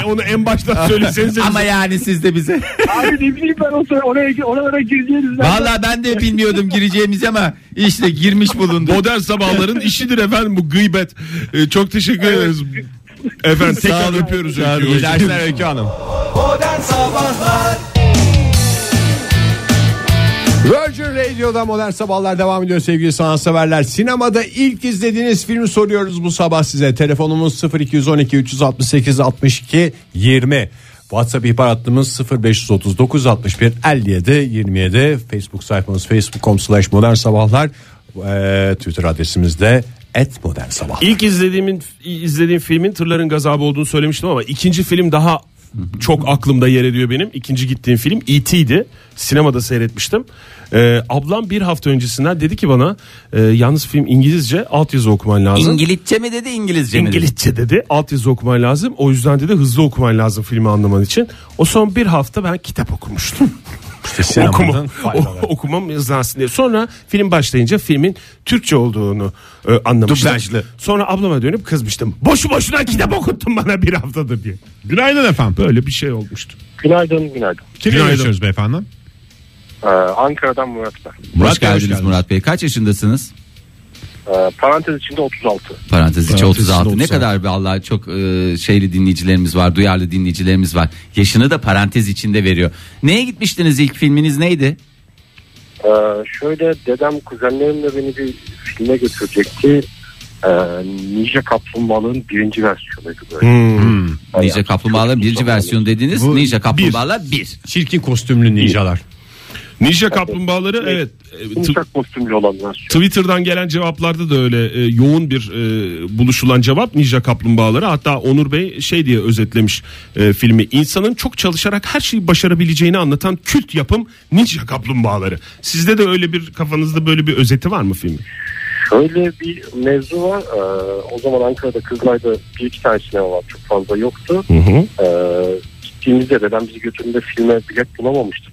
Speaker 5: E, onu en baştan söyleseniz.
Speaker 4: Ama yani siz de bize.
Speaker 8: Abi ne bileyim ben o sıra oraya, oralara gireceğiniz
Speaker 4: Valla ben de bilmiyordum gireceğimizi ama işte girmiş bulundum.
Speaker 5: Modern sabahların işidir efendim bu gıybet. E, çok teşekkür ederiz. Efendim tekrar öpüyoruz. Öykü'yü.
Speaker 7: İyi dersler Öykü Hanım.
Speaker 2: Modern Sabahlar
Speaker 3: Virgin Radio'da modern sabahlar devam ediyor sevgili sanatseverler. Sinemada ilk izlediğiniz filmi soruyoruz bu sabah size. Telefonumuz 0212 368 62 20. WhatsApp ihbar hattımız 0539 61 57 27. Facebook sayfamız facebook.com slash modern sabahlar. Ee, Twitter adresimiz de et modern sabahlar.
Speaker 5: İlk izlediğimin izlediğim filmin Tırların Gazabı olduğunu söylemiştim ama ikinci film daha çok aklımda yer ediyor benim. İkinci gittiğim film E.T.'di. Sinemada seyretmiştim. Ee, ablam bir hafta öncesinden dedi ki bana e, yalnız film İngilizce altyazı okuman lazım.
Speaker 4: İngilizce mi dedi İngilizce mi dedi?
Speaker 5: İngilizce dedi altyazı okuman lazım. O yüzden dedi hızlı okuman lazım filmi anlaman için. O son bir hafta ben kitap okumuştum. Okuma, o- okumam yazarsın diye. Sonra film başlayınca filmin Türkçe olduğunu e, anlamıştım.
Speaker 7: Dublajlı.
Speaker 5: Sonra ablama dönüp kızmıştım. Boşu boşuna kitap okuttun bana bir haftadır diye.
Speaker 7: Günaydın efendim.
Speaker 5: Böyle bir şey olmuştu.
Speaker 10: Günaydın günaydın.
Speaker 7: Kimle
Speaker 5: Günaydın.
Speaker 7: görüşüyoruz beyefendi?
Speaker 10: Ee, Ankara'dan Murat ben.
Speaker 4: Murat
Speaker 7: Hoş geldiniz.
Speaker 4: geldiniz Murat Bey. Kaç yaşındasınız?
Speaker 10: Ee, parantez içinde 36.
Speaker 4: Parantez içi
Speaker 7: içinde
Speaker 4: 36. Ne
Speaker 7: 36.
Speaker 4: kadar vallahi çok e, şeyli dinleyicilerimiz var, duyarlı dinleyicilerimiz var. Yaşını da parantez içinde veriyor. Neye gitmiştiniz ilk filminiz neydi?
Speaker 10: Ee, şöyle dedem kuzenlerimle beni bir filme götürecekti. Ee, Ninja Kaplumbağaların birinci versiyonuydu böyle.
Speaker 5: Hmm.
Speaker 7: Hmm.
Speaker 10: Bayağı
Speaker 4: Ninja Kaplumbağalar
Speaker 10: çok
Speaker 4: birinci
Speaker 10: uzun
Speaker 4: versiyon dediniz.
Speaker 7: Bu
Speaker 4: Ninja Kaplumbağalar 1.
Speaker 7: Çirkin kostümlü ninjalar.
Speaker 5: Ninja kaplumbağaları evet.
Speaker 10: zamanlı.
Speaker 5: e, t-
Speaker 10: Yumuşak kostümlü olan versiyon.
Speaker 5: Twitter'dan gelen cevaplarda da öyle e, yoğun bir e, buluşulan cevap Ninja Kaplumbağaları. Hatta Onur Bey şey diye özetlemiş e, filmi. İnsanın çok çalışarak her şeyi başarabileceğini anlatan kült yapım Ninja Kaplumbağaları. Sizde de öyle bir kafanızda böyle bir özeti var mı filmin?
Speaker 10: Şöyle bir mevzu var. Ee, o zaman Ankara'da Kızılay'da bir iki tane sinema var. Çok fazla yoktu. Ee, gittiğimizde dedem bizi götürdüğünde filme bilet bulamamıştık.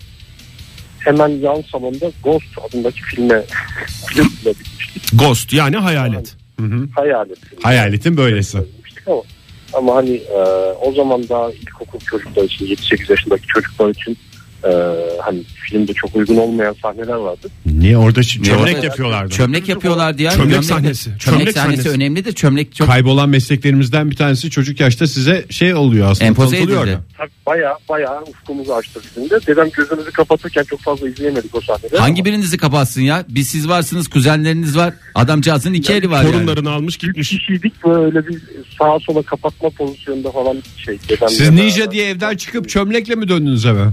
Speaker 10: Hemen yan salonda Ghost adındaki filme bilet bulabildik.
Speaker 5: Ghost yani hayalet.
Speaker 10: Hayal ettim.
Speaker 7: Hayaletin böylesi.
Speaker 10: yapmıştık ama ama hani e, o zaman daha ilkokul çocuklar için 7-8 yaşındaki çocuklar için e, hani filmde çok uygun olmayan sahneler vardı.
Speaker 7: Niye orada ç- çömlek
Speaker 4: orada-
Speaker 7: yapıyorlardı?
Speaker 4: Çömlek yapıyorlardı ya.
Speaker 5: Çömlek sahnesi.
Speaker 4: Çömlek,
Speaker 5: Çömlek
Speaker 4: sahnesi,
Speaker 5: sahnesi.
Speaker 4: önemli de çömlek çok
Speaker 7: Kaybolan mesleklerimizden bir tanesi çocuk yaşta size şey oluyor aslında.
Speaker 4: Empoze
Speaker 7: tanıtılıyor
Speaker 4: edildi.
Speaker 7: orada.
Speaker 10: Tabii baya baya ufkumuzu açtı bizim de. Dedem gözümüzü kapatırken çok fazla izleyemedik o sahneleri.
Speaker 4: Hangi
Speaker 10: Ama
Speaker 4: birinizi kapatsın ya? Biz siz varsınız, kuzenleriniz var. Adamcağızın iki eli var yani.
Speaker 5: Torunlarını almış gitmiş.
Speaker 10: kişiydik böyle bir sağa sola kapatma pozisyonunda falan şey. dedemle
Speaker 7: Siz
Speaker 10: beraber-
Speaker 7: ninja diye evden çıkıp çömlekle mi döndünüz eve?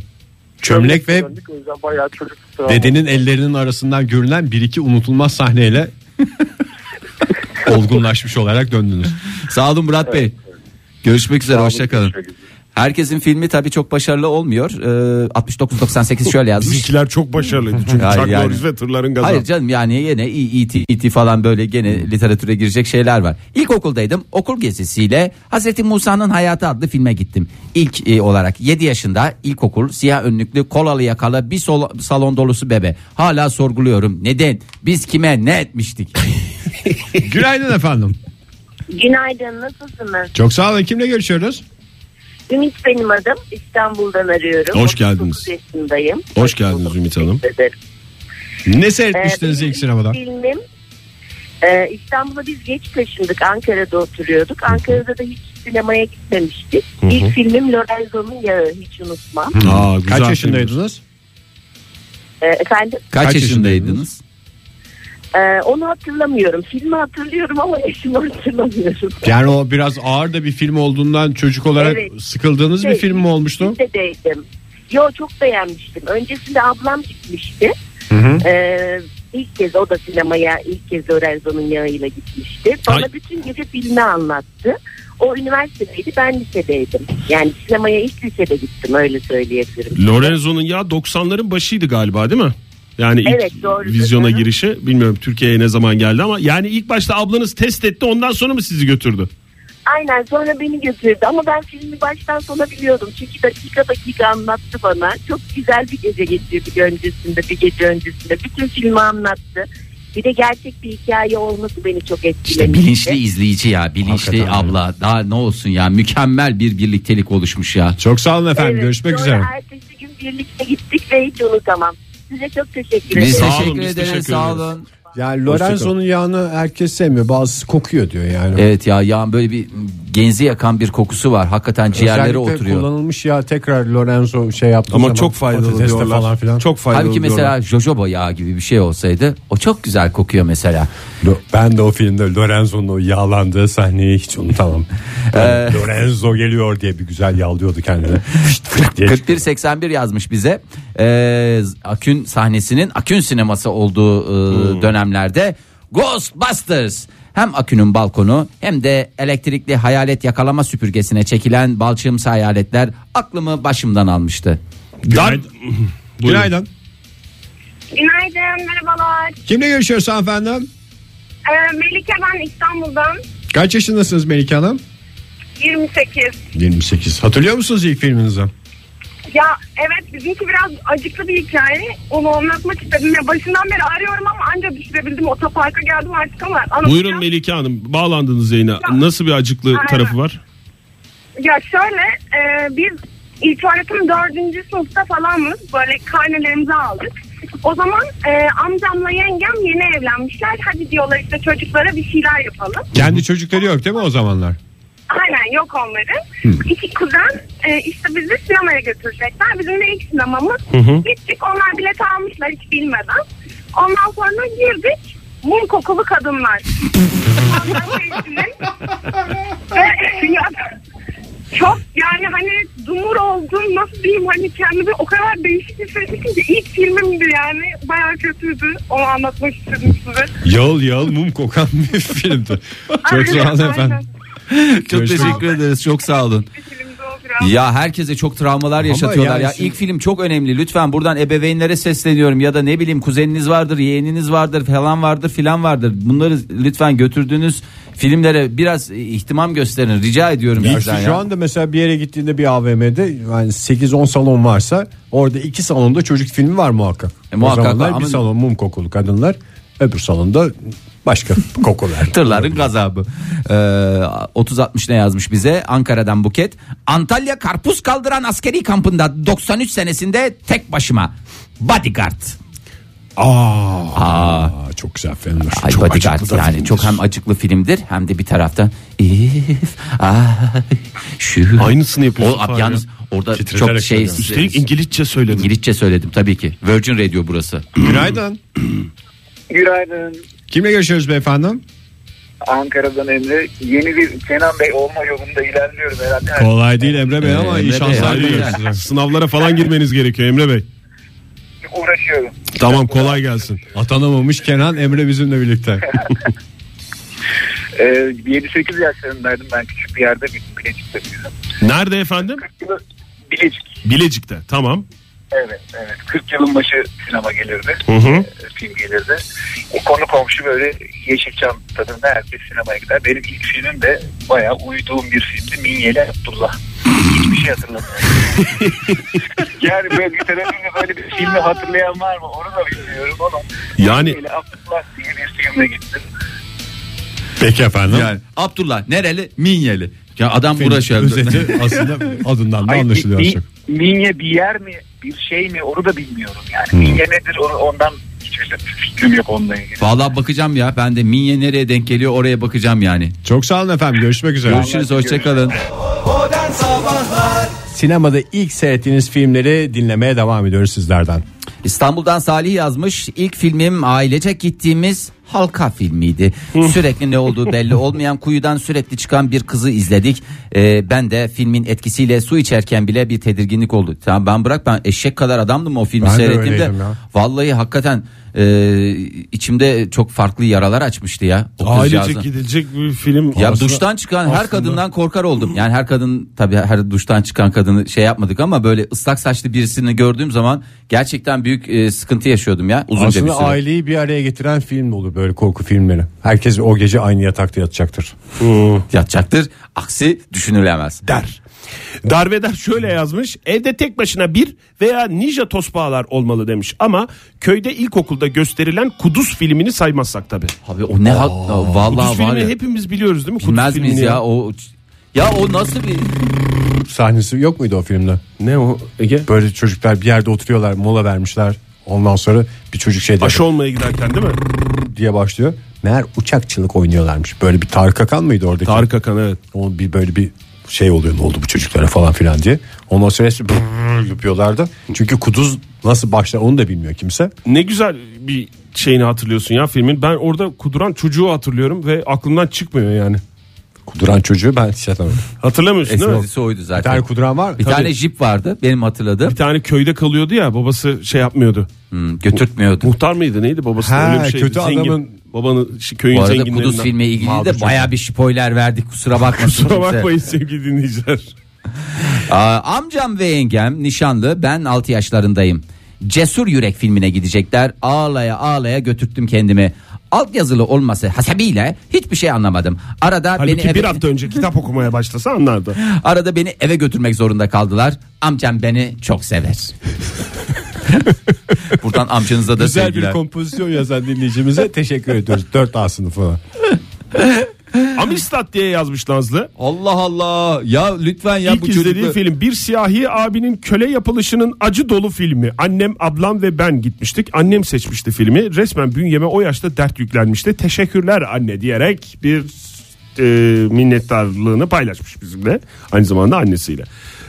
Speaker 7: Çömlek ve
Speaker 10: döndük. O yüzden bayağı çocuk travma-
Speaker 7: dedenin ellerinin arasından görülen bir iki unutulmaz sahneyle olgunlaşmış olarak döndünüz.
Speaker 4: Sağ olun Murat Bey. Görüşmek üzere, hoşça kalın. Herkesin filmi tabii çok başarılı olmuyor. Ee, 69-98 şöyle yazmış.
Speaker 5: Bizimkiler çok başarılıydı çünkü
Speaker 4: Yani-
Speaker 5: Chuck
Speaker 4: yani-
Speaker 5: Norris ve tırların gazabı.
Speaker 4: Hayır canım yani yine E.T. E.T. falan böyle gene literatüre girecek şeyler var. İlkokuldaydım. Okul gezisiyle Hazreti Musa'nın Hayatı adlı filme gittim. İlk e, olarak 7 yaşında ilkokul siyah önlüklü kolalı yakalı bir sol- salon dolusu bebe. Hala sorguluyorum. Neden? Biz kime ne etmiştik?
Speaker 7: Günaydın efendim.
Speaker 9: Günaydın nasılsınız?
Speaker 7: Çok sağ olun. Kimle görüşüyoruz?
Speaker 9: Ümit benim adım. İstanbul'dan arıyorum.
Speaker 5: Hoş geldiniz.
Speaker 9: 39 yaşındayım.
Speaker 5: Hoş geldiniz Ümit Hanım.
Speaker 9: Teşekkür ederim.
Speaker 7: Ne
Speaker 9: Ee,
Speaker 7: seyretmiştiniz
Speaker 9: benim
Speaker 7: ilk sinemada?
Speaker 9: Filmim e, İstanbul'a biz geç taşındık. Ankara'da oturuyorduk. Ankara'da da hiç sinemaya gitmemiştik. İlk filmim Lorenzo'nun Yağı hiç unutmam.
Speaker 5: Aa, güzel
Speaker 7: Kaç
Speaker 5: film.
Speaker 7: yaşındaydınız?
Speaker 9: E, efendim
Speaker 4: Kaç,
Speaker 7: Kaç
Speaker 4: yaşındaydınız?
Speaker 9: e, onu hatırlamıyorum. Filmi hatırlıyorum ama yaşımı hatırlamıyorum.
Speaker 7: Yani o biraz ağır da bir film olduğundan çocuk olarak
Speaker 9: Evet.
Speaker 7: sıkıldığınız bir
Speaker 9: Şey,
Speaker 7: film mi olmuştu?
Speaker 9: Lisedeydim. Yo çok beğenmiştim. Öncesinde ablam gitmişti. Ee, ilk kez o da sinemaya ilk kez Lorenzo'nun yağıyla gitmişti. Bana
Speaker 5: Ay.
Speaker 9: bütün gece filmi anlattı. O üniversitedeydi ben lisedeydim. Yani sinemaya ilk lisede gittim öyle söyleyebilirim.
Speaker 5: Lorenzo'nun ya 90'ların başıydı galiba değil mi? Yani ilk
Speaker 9: Evet, doğru.
Speaker 5: vizyona
Speaker 9: Hı hı.
Speaker 5: girişi bilmiyorum Türkiye'ye ne zaman geldi ama yani ilk başta ablanız test etti ondan sonra mı sizi götürdü?
Speaker 9: Aynen sonra beni götürdü ama ben filmi baştan sona biliyordum. Çünkü dakika dakika anlattı bana. Çok güzel bir gece geçirdik öncesinde bir gece öncesinde. Bütün filmi anlattı. Bir de gerçek bir hikaye olması beni çok
Speaker 4: İşte
Speaker 9: etkilemişti.
Speaker 4: bilinçli izleyici ya, bilinçli abla. Daha ne olsun ya? Mükemmel bir birliktelik oluşmuş ya.
Speaker 7: Çok sağ olun efendim.
Speaker 9: Evet,
Speaker 7: Görüşmek
Speaker 9: sonra
Speaker 7: üzere.
Speaker 9: ertesi gün birlikte gittik ve hiç unutamam. Size çok
Speaker 4: Biz
Speaker 9: teşekkür ederim.
Speaker 5: Sağ olun,
Speaker 4: teşekkür
Speaker 5: biz
Speaker 4: ederiz.
Speaker 5: teşekkür
Speaker 4: Sağ
Speaker 5: ederiz.
Speaker 4: olun.
Speaker 3: Yani Lorenzo'nun yağını herkes sevmiyor. Bazısı kokuyor diyor yani.
Speaker 4: Evet ya yağın böyle bir genzi yakan bir kokusu var. Hakikaten ciğerlere
Speaker 3: Özellikle
Speaker 4: oturuyor.
Speaker 3: kullanılmış ya tekrar Lorenzo şey yaptı.
Speaker 5: Ama çok faydalı diyorlar.
Speaker 3: Falan filan.
Speaker 5: Çok faydalı
Speaker 4: Halbuki
Speaker 5: diyorlar.
Speaker 4: mesela jojoba yağı gibi bir şey olsaydı o çok güzel kokuyor mesela.
Speaker 3: Lo- Ben de o filmde Lorenzo'nun o yağlandığı sahneyi hiç unutamam.
Speaker 4: Ee,
Speaker 3: Yani Lorenzo geliyor diye bir güzel yağlıyordu kendini. Fışt fışt diye.
Speaker 4: 4181 yazmış bize. Ee, Akün sahnesinin Akün sineması olduğu e, dönemlerde Ghostbusters hem Akün'ün balkonu hem de elektrikli hayalet yakalama süpürgesine çekilen balçığımsı hayaletler aklımı başımdan almıştı.
Speaker 3: Günaydın. Günaydın.
Speaker 9: Günaydın, merhabalar.
Speaker 3: Kimle görüşüyoruz hanımefendi?
Speaker 9: Ee, Melike ben İstanbul'dan.
Speaker 3: Kaç yaşındasınız Melike Hanım?
Speaker 9: 28.
Speaker 3: 28. Hatırlıyor musunuz ilk filminizi?
Speaker 9: Ya evet bizimki biraz acıklı bir hikaye. Onu anlatmak istedim. Ya başından beri arıyorum ama anca düşürebildim. Otoparka geldim artık ama. anlatacağım.
Speaker 5: Buyurun Melike Hanım bağlandınız yayına. Nasıl bir acıklı
Speaker 9: Aynen.
Speaker 5: tarafı var?
Speaker 9: Ya şöyle e, biz ilk öğretim dördüncü sınıfta falanız böyle karnelerimizi aldık. O zaman e, amcamla yengem yeni evlenmişler. Hadi diyorlar işte çocuklara bir şeyler yapalım.
Speaker 3: Kendi çocukları yok değil mi o zamanlar?
Speaker 9: Aynen yok onların. İki kuzen e, işte bizi sinemaya götürecekler. Bizim de ilk sinemamız.
Speaker 3: Hı hı.
Speaker 9: Gittik onlar bilet almışlar hiç bilmeden. Ondan sonra girdik. Mum kokulu kadınlar. Ondan teyzenin- Ve- ya, çok yani hani dumur oldum nasıl diyeyim hani kendimi o kadar değişik hissettim ki ilk filmimdi yani bayağı kötüydü onu anlatmak istedim size.
Speaker 3: Yağıl yağıl mum kokan bir filmdi. Çok sağ olun
Speaker 9: Aynen.
Speaker 3: efendim.
Speaker 4: Çok teşekkür ederiz. Çok sağ olun. Ya herkese çok travmalar yaşatıyorlar
Speaker 3: yani
Speaker 4: ya.
Speaker 3: şimdi-
Speaker 4: İlk film çok önemli. Lütfen buradan ebeveynlere sesleniyorum ya da ne bileyim kuzeniniz vardır, yeğeniniz vardır, falan vardır, filan vardır. Bunları lütfen götürdüğünüz filmlere biraz ihtimam gösterin. Rica ediyorum
Speaker 3: Ya
Speaker 4: sizden
Speaker 3: Şu
Speaker 4: ya.
Speaker 3: anda mesela bir yere gittiğinde bir AVM'de yani 8-10 salon varsa orada iki salonda çocuk filmi var muhakkak.
Speaker 4: E, muhakkak
Speaker 3: o zamanlar
Speaker 4: var
Speaker 3: bir
Speaker 4: ama-
Speaker 3: salon mum kokulu kadınlar öbür salonda başka kokular.
Speaker 4: Tırların gazabı. Ee, 3060 ne yazmış bize? Ankara'dan Buket. Antalya karpuz kaldıran askeri kampında 93 senesinde tek başıma. Bodyguard. Aa.
Speaker 3: Aa, çok güzel filmler.
Speaker 4: Ay
Speaker 3: çok
Speaker 4: Bodyguard
Speaker 3: acıklı da
Speaker 4: yani
Speaker 3: filmdir.
Speaker 4: çok hem acıklı filmdir hem de bir taraftan if I şu
Speaker 5: Aynısını yapıyorsun
Speaker 4: O, ab-
Speaker 5: Fahri.
Speaker 4: yalnız orada
Speaker 3: Titreterek
Speaker 4: çok şey
Speaker 3: söylüyorum.
Speaker 5: Üstelik İngilizce söyledim.
Speaker 4: İngilizce söyledim tabii ki. Virgin Radio burası.
Speaker 3: Günaydın.
Speaker 10: Günaydın.
Speaker 3: Kimle görüşüyoruz beyefendi?
Speaker 10: Ankara'dan Emre. Yeni bir Kenan Bey olma yolunda ilerliyorum herhalde.
Speaker 3: Kolay değil Emre Bey ama
Speaker 4: Ee, Emre
Speaker 3: iyi
Speaker 4: Bey,
Speaker 3: şanslar
Speaker 4: hakikaten.
Speaker 3: diliyoruz size.
Speaker 5: Sınavlara falan girmeniz gerekiyor Emre Bey.
Speaker 10: Uğraşıyorum.
Speaker 5: Tamam kolay gelsin.
Speaker 3: Atanamamış Kenan Emre bizimle birlikte.
Speaker 10: Ee, 7-8 yaşlarındaydım ben küçük bir yerde bir Bilecik'te büyüdüm.
Speaker 5: Nerede efendim?
Speaker 10: Bilecik.
Speaker 5: Bilecik'te. Tamam.
Speaker 10: Evet evet. 40 yılın başı sinema gelirdi.
Speaker 5: Hı hı.
Speaker 10: e, film gelirdi. O konu komşu böyle Yeşilçam tadında herkes sinemaya gider. Benim ilk filmim de bayağı uyduğum bir filmdi. Minyeli Abdullah. Hiçbir şey hatırlamıyorum. yani böyle literatürde böyle bir filmi hatırlayan var mı? Onu da bilmiyorum ama
Speaker 5: Yani-
Speaker 10: Minyeli Abdullah diye bir filme gittim.
Speaker 3: Peki efendim.
Speaker 4: Yani Abdullah nereli? Minyeli. Ya adam
Speaker 3: Filmin
Speaker 4: uğraşıyor.
Speaker 3: Özeti aslında adından da
Speaker 10: Ay,
Speaker 3: anlaşılıyor.
Speaker 10: mi-
Speaker 3: az çok.
Speaker 10: mi- Minye bir yer mi? Bir şey mi? Onu da bilmiyorum yani.
Speaker 5: Hmm.
Speaker 10: Minye nedir? Onu, ondan hiçbir fikrim yok onunla ilgili.
Speaker 4: Vallahi bakacağım ya ben de Minye nereye denk geliyor oraya bakacağım yani.
Speaker 3: Çok sağ olun efendim. Görüşmek üzere.
Speaker 4: Görüşürüz hoşçakalın.
Speaker 11: Modern Sabahlar
Speaker 3: Sinemada ilk seyrettiğiniz filmleri dinlemeye devam ediyoruz sizlerden.
Speaker 4: İstanbul'dan Salih yazmış. İlk filmim ailecek gittiğimiz halka filmiydi.
Speaker 3: Hmm.
Speaker 4: Sürekli ne olduğu belli olmayan kuyudan sürekli çıkan bir kızı izledik. Ee, ben de filmin etkisiyle su içerken bile bir tedirginlik oldu. Tamam ben bırak ben eşek kadar adamdım o filmi
Speaker 3: Ben de
Speaker 4: seyrettiğimde.
Speaker 3: öyleydim ya.
Speaker 4: Vallahi hakikaten e, içimde çok farklı yaralar açmıştı ya. O kızcağızın.
Speaker 5: Ailecek gidilecek bir film.
Speaker 4: Ya
Speaker 5: Aslında-
Speaker 4: duştan çıkan her
Speaker 5: aslında-
Speaker 4: kadından korkar oldum. Yani her kadın tabii her duştan çıkan kadını şey yapmadık ama böyle ıslak saçlı birisini gördüğüm zaman gerçekten büyük e, sıkıntı yaşıyordum ya uzunca bir
Speaker 3: Aslında
Speaker 4: süre.
Speaker 3: aileyi bir araya getiren film olur böyle korku filmleri. Herkes o gece aynı yatakta yatacaktır.
Speaker 4: Yatacaktır. Aksi düşünülemez.
Speaker 5: der. Darveder şöyle yazmış. Evde tek başına bir veya ninja tosbağalar olmalı demiş. Ama köyde ilkokulda gösterilen Kuduz filmini saymazsak tabii.
Speaker 4: Abi o ne hak Aa,
Speaker 5: Kuduz
Speaker 4: vallahi var
Speaker 5: filmini
Speaker 4: ya.
Speaker 5: hepimiz biliyoruz değil mi? Kuduz
Speaker 4: Bilmez miyiz
Speaker 5: filmini
Speaker 4: ya o ya o nasıl bir
Speaker 3: Sahnesi yok muydu o filmde?
Speaker 5: Ne o Ege?
Speaker 3: Böyle çocuklar bir yerde oturuyorlar mola vermişler. Ondan sonra bir çocuk şey diyor.
Speaker 5: Aşı olmaya giderken değil mi?
Speaker 3: diye başlıyor. Meğer uçakçılık oynuyorlarmış. Böyle bir Tarık Akan mıydı oradaki? Tarık
Speaker 5: Akan evet.
Speaker 3: O bir böyle bir şey oluyor ne oldu bu çocuklara falan filan diye. Ondan sonra hepsi brrrr yapıyorlardı. Çünkü kuduz nasıl başlar onu da bilmiyor kimse.
Speaker 5: Ne güzel bir şeyini hatırlıyorsun ya filmin. Ben orada kuduran çocuğu hatırlıyorum ve aklımdan çıkmıyor yani.
Speaker 3: Kuduran çocuğu ben hiç hatırlamıyorum.
Speaker 5: Hatırlamıyorsun değil mi?
Speaker 4: Esprisi oydu zaten.
Speaker 5: Bir tane kuduran var.
Speaker 4: Bir
Speaker 5: Tabii.
Speaker 4: tane jip vardı benim hatırladığım. Hmm,
Speaker 5: Bir tane köyde kalıyordu ya babası şey yapmıyordu.
Speaker 4: götürtmüyordu.
Speaker 5: Muhtar mıydı neydi babası?
Speaker 4: Ha,
Speaker 5: öyle bir şeydi.
Speaker 4: kötü
Speaker 5: Zengin.
Speaker 4: adamın-
Speaker 5: Babanın şi- köyün
Speaker 4: Bu arada
Speaker 5: zenginlerinden.
Speaker 4: Kuduz filmi ilgili de baya bir spoiler verdik kusura bakmasın
Speaker 5: Kusura
Speaker 4: kimse.
Speaker 5: bakmayın sevgili dinleyiciler.
Speaker 4: Aa, amcam ve yengem nişanlı ben 6 yaşlarındayım. Cesur Yürek filmine gidecekler. Ağlaya ağlaya götürttüm kendimi. Alt yazılı olması hasebiyle hiçbir şey anlamadım. Arada
Speaker 5: Halbuki
Speaker 4: beni eve,
Speaker 5: bir hafta önce kitap okumaya başlasa anlardı.
Speaker 4: arada beni eve götürmek zorunda kaldılar. Amcam beni çok sever. Buradan amcanıza da
Speaker 3: Güzel
Speaker 4: sevgiler.
Speaker 3: bir kompozisyon yazan dinleyicimize teşekkür ediyoruz. 4A sınıfına.
Speaker 5: Amistad diye yazmış Nazlı.
Speaker 4: Allah Allah. Ya lütfen ya
Speaker 5: İlk
Speaker 4: bu
Speaker 5: izlediği
Speaker 4: çocuklar-
Speaker 5: film bir siyahi abinin köle yapılışının acı dolu filmi. Annem, ablam ve ben gitmiştik. Annem seçmişti filmi. Resmen bünyeme o yaşta dert yüklenmişti. Teşekkürler anne diyerek bir e, minnettarlığını paylaşmış bizimle. Aynı zamanda annesiyle.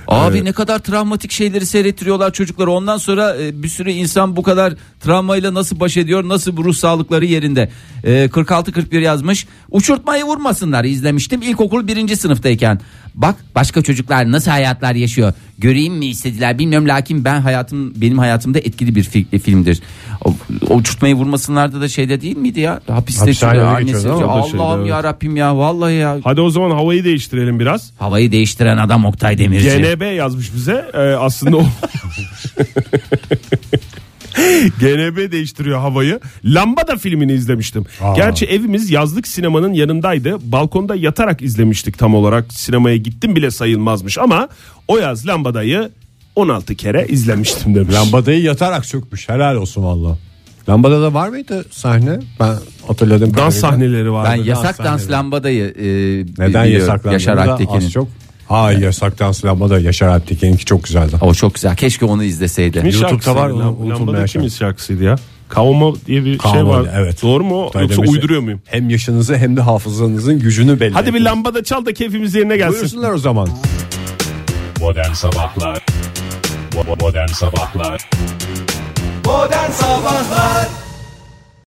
Speaker 4: Abi
Speaker 5: Ee,
Speaker 4: ne kadar travmatik şeyleri seyrettiriyorlar çocuklara. Ondan sonra e, bir sürü insan bu kadar travmayla nasıl baş ediyor? Nasıl bu ruh sağlıkları yerinde? E, 46-41 yazmış. Uçurtmayı vurmasınlar izlemiştim ilkokul birinci sınıftayken. Bak başka çocuklar nasıl hayatlar yaşıyor. Göreyim mi istediler bilmiyorum. Lakin ben hayatım benim hayatımda etkili bir fi- e, filmdir. O, o uçurtmayı vurmasınlarda da şeyde değil miydi ya? Hapiste
Speaker 5: Hapishanede
Speaker 4: sürüyor,
Speaker 5: geçiyor,
Speaker 4: annesi.
Speaker 5: değil mi? O da şeyde,
Speaker 4: Allah'ım
Speaker 5: evet.
Speaker 4: ya Rabbim ya vallahi ya.
Speaker 5: Hadi o zaman havayı değiştirelim biraz.
Speaker 4: Havayı değiştiren adam Oktay Demirci.
Speaker 5: GNB yazmış bize. Ee, aslında o... GNB değiştiriyor havayı. Lambada filmini izlemiştim. Gerçi evimiz yazlık sinemanın yanındaydı. Balkonda yatarak izlemiştik tam olarak. Sinemaya gittim bile sayılmazmış ama o yaz Lambada'yı 16 kere izlemiştim demiş.
Speaker 3: Lambadayı yatarak sökmüş. Helal olsun valla. Lambada da var mıydı sahne? Ben hatırladım.
Speaker 5: Dans sahneleri vardı.
Speaker 4: Ben yasak dans lambadayı e,
Speaker 3: Neden
Speaker 4: biliyorum.
Speaker 3: yasaklandığını
Speaker 4: Yaşar
Speaker 3: da
Speaker 4: Alptekin'in.
Speaker 3: az çok. Hayır yasak dans lambada Yaşar Alptekin'inki çok güzeldi.
Speaker 4: O çok güzel. Keşke onu izleseydi.
Speaker 5: Kimin şarkısıydı?
Speaker 3: YouTube'da var
Speaker 5: Lam-
Speaker 3: onu unutulmayan
Speaker 5: Lambada kimin
Speaker 3: şarkı.
Speaker 5: şarkısıydı ya? Kavma diye bir şey
Speaker 3: Kaan
Speaker 5: var.
Speaker 3: Vali, evet.
Speaker 5: Doğru mu? o?
Speaker 3: Oktay
Speaker 5: Yoksa
Speaker 3: Demirci.
Speaker 5: uyduruyor muyum?
Speaker 3: Hem yaşınızı hem de hafızanızın gücünü belli.
Speaker 5: Hadi bir
Speaker 3: edin.
Speaker 5: lambada çal da keyfimiz yerine gelsin.
Speaker 3: Buyursunlar o zaman.
Speaker 1: Modern Sabahlar Bo- Modern Sabahlar
Speaker 12: Modern Sabahlar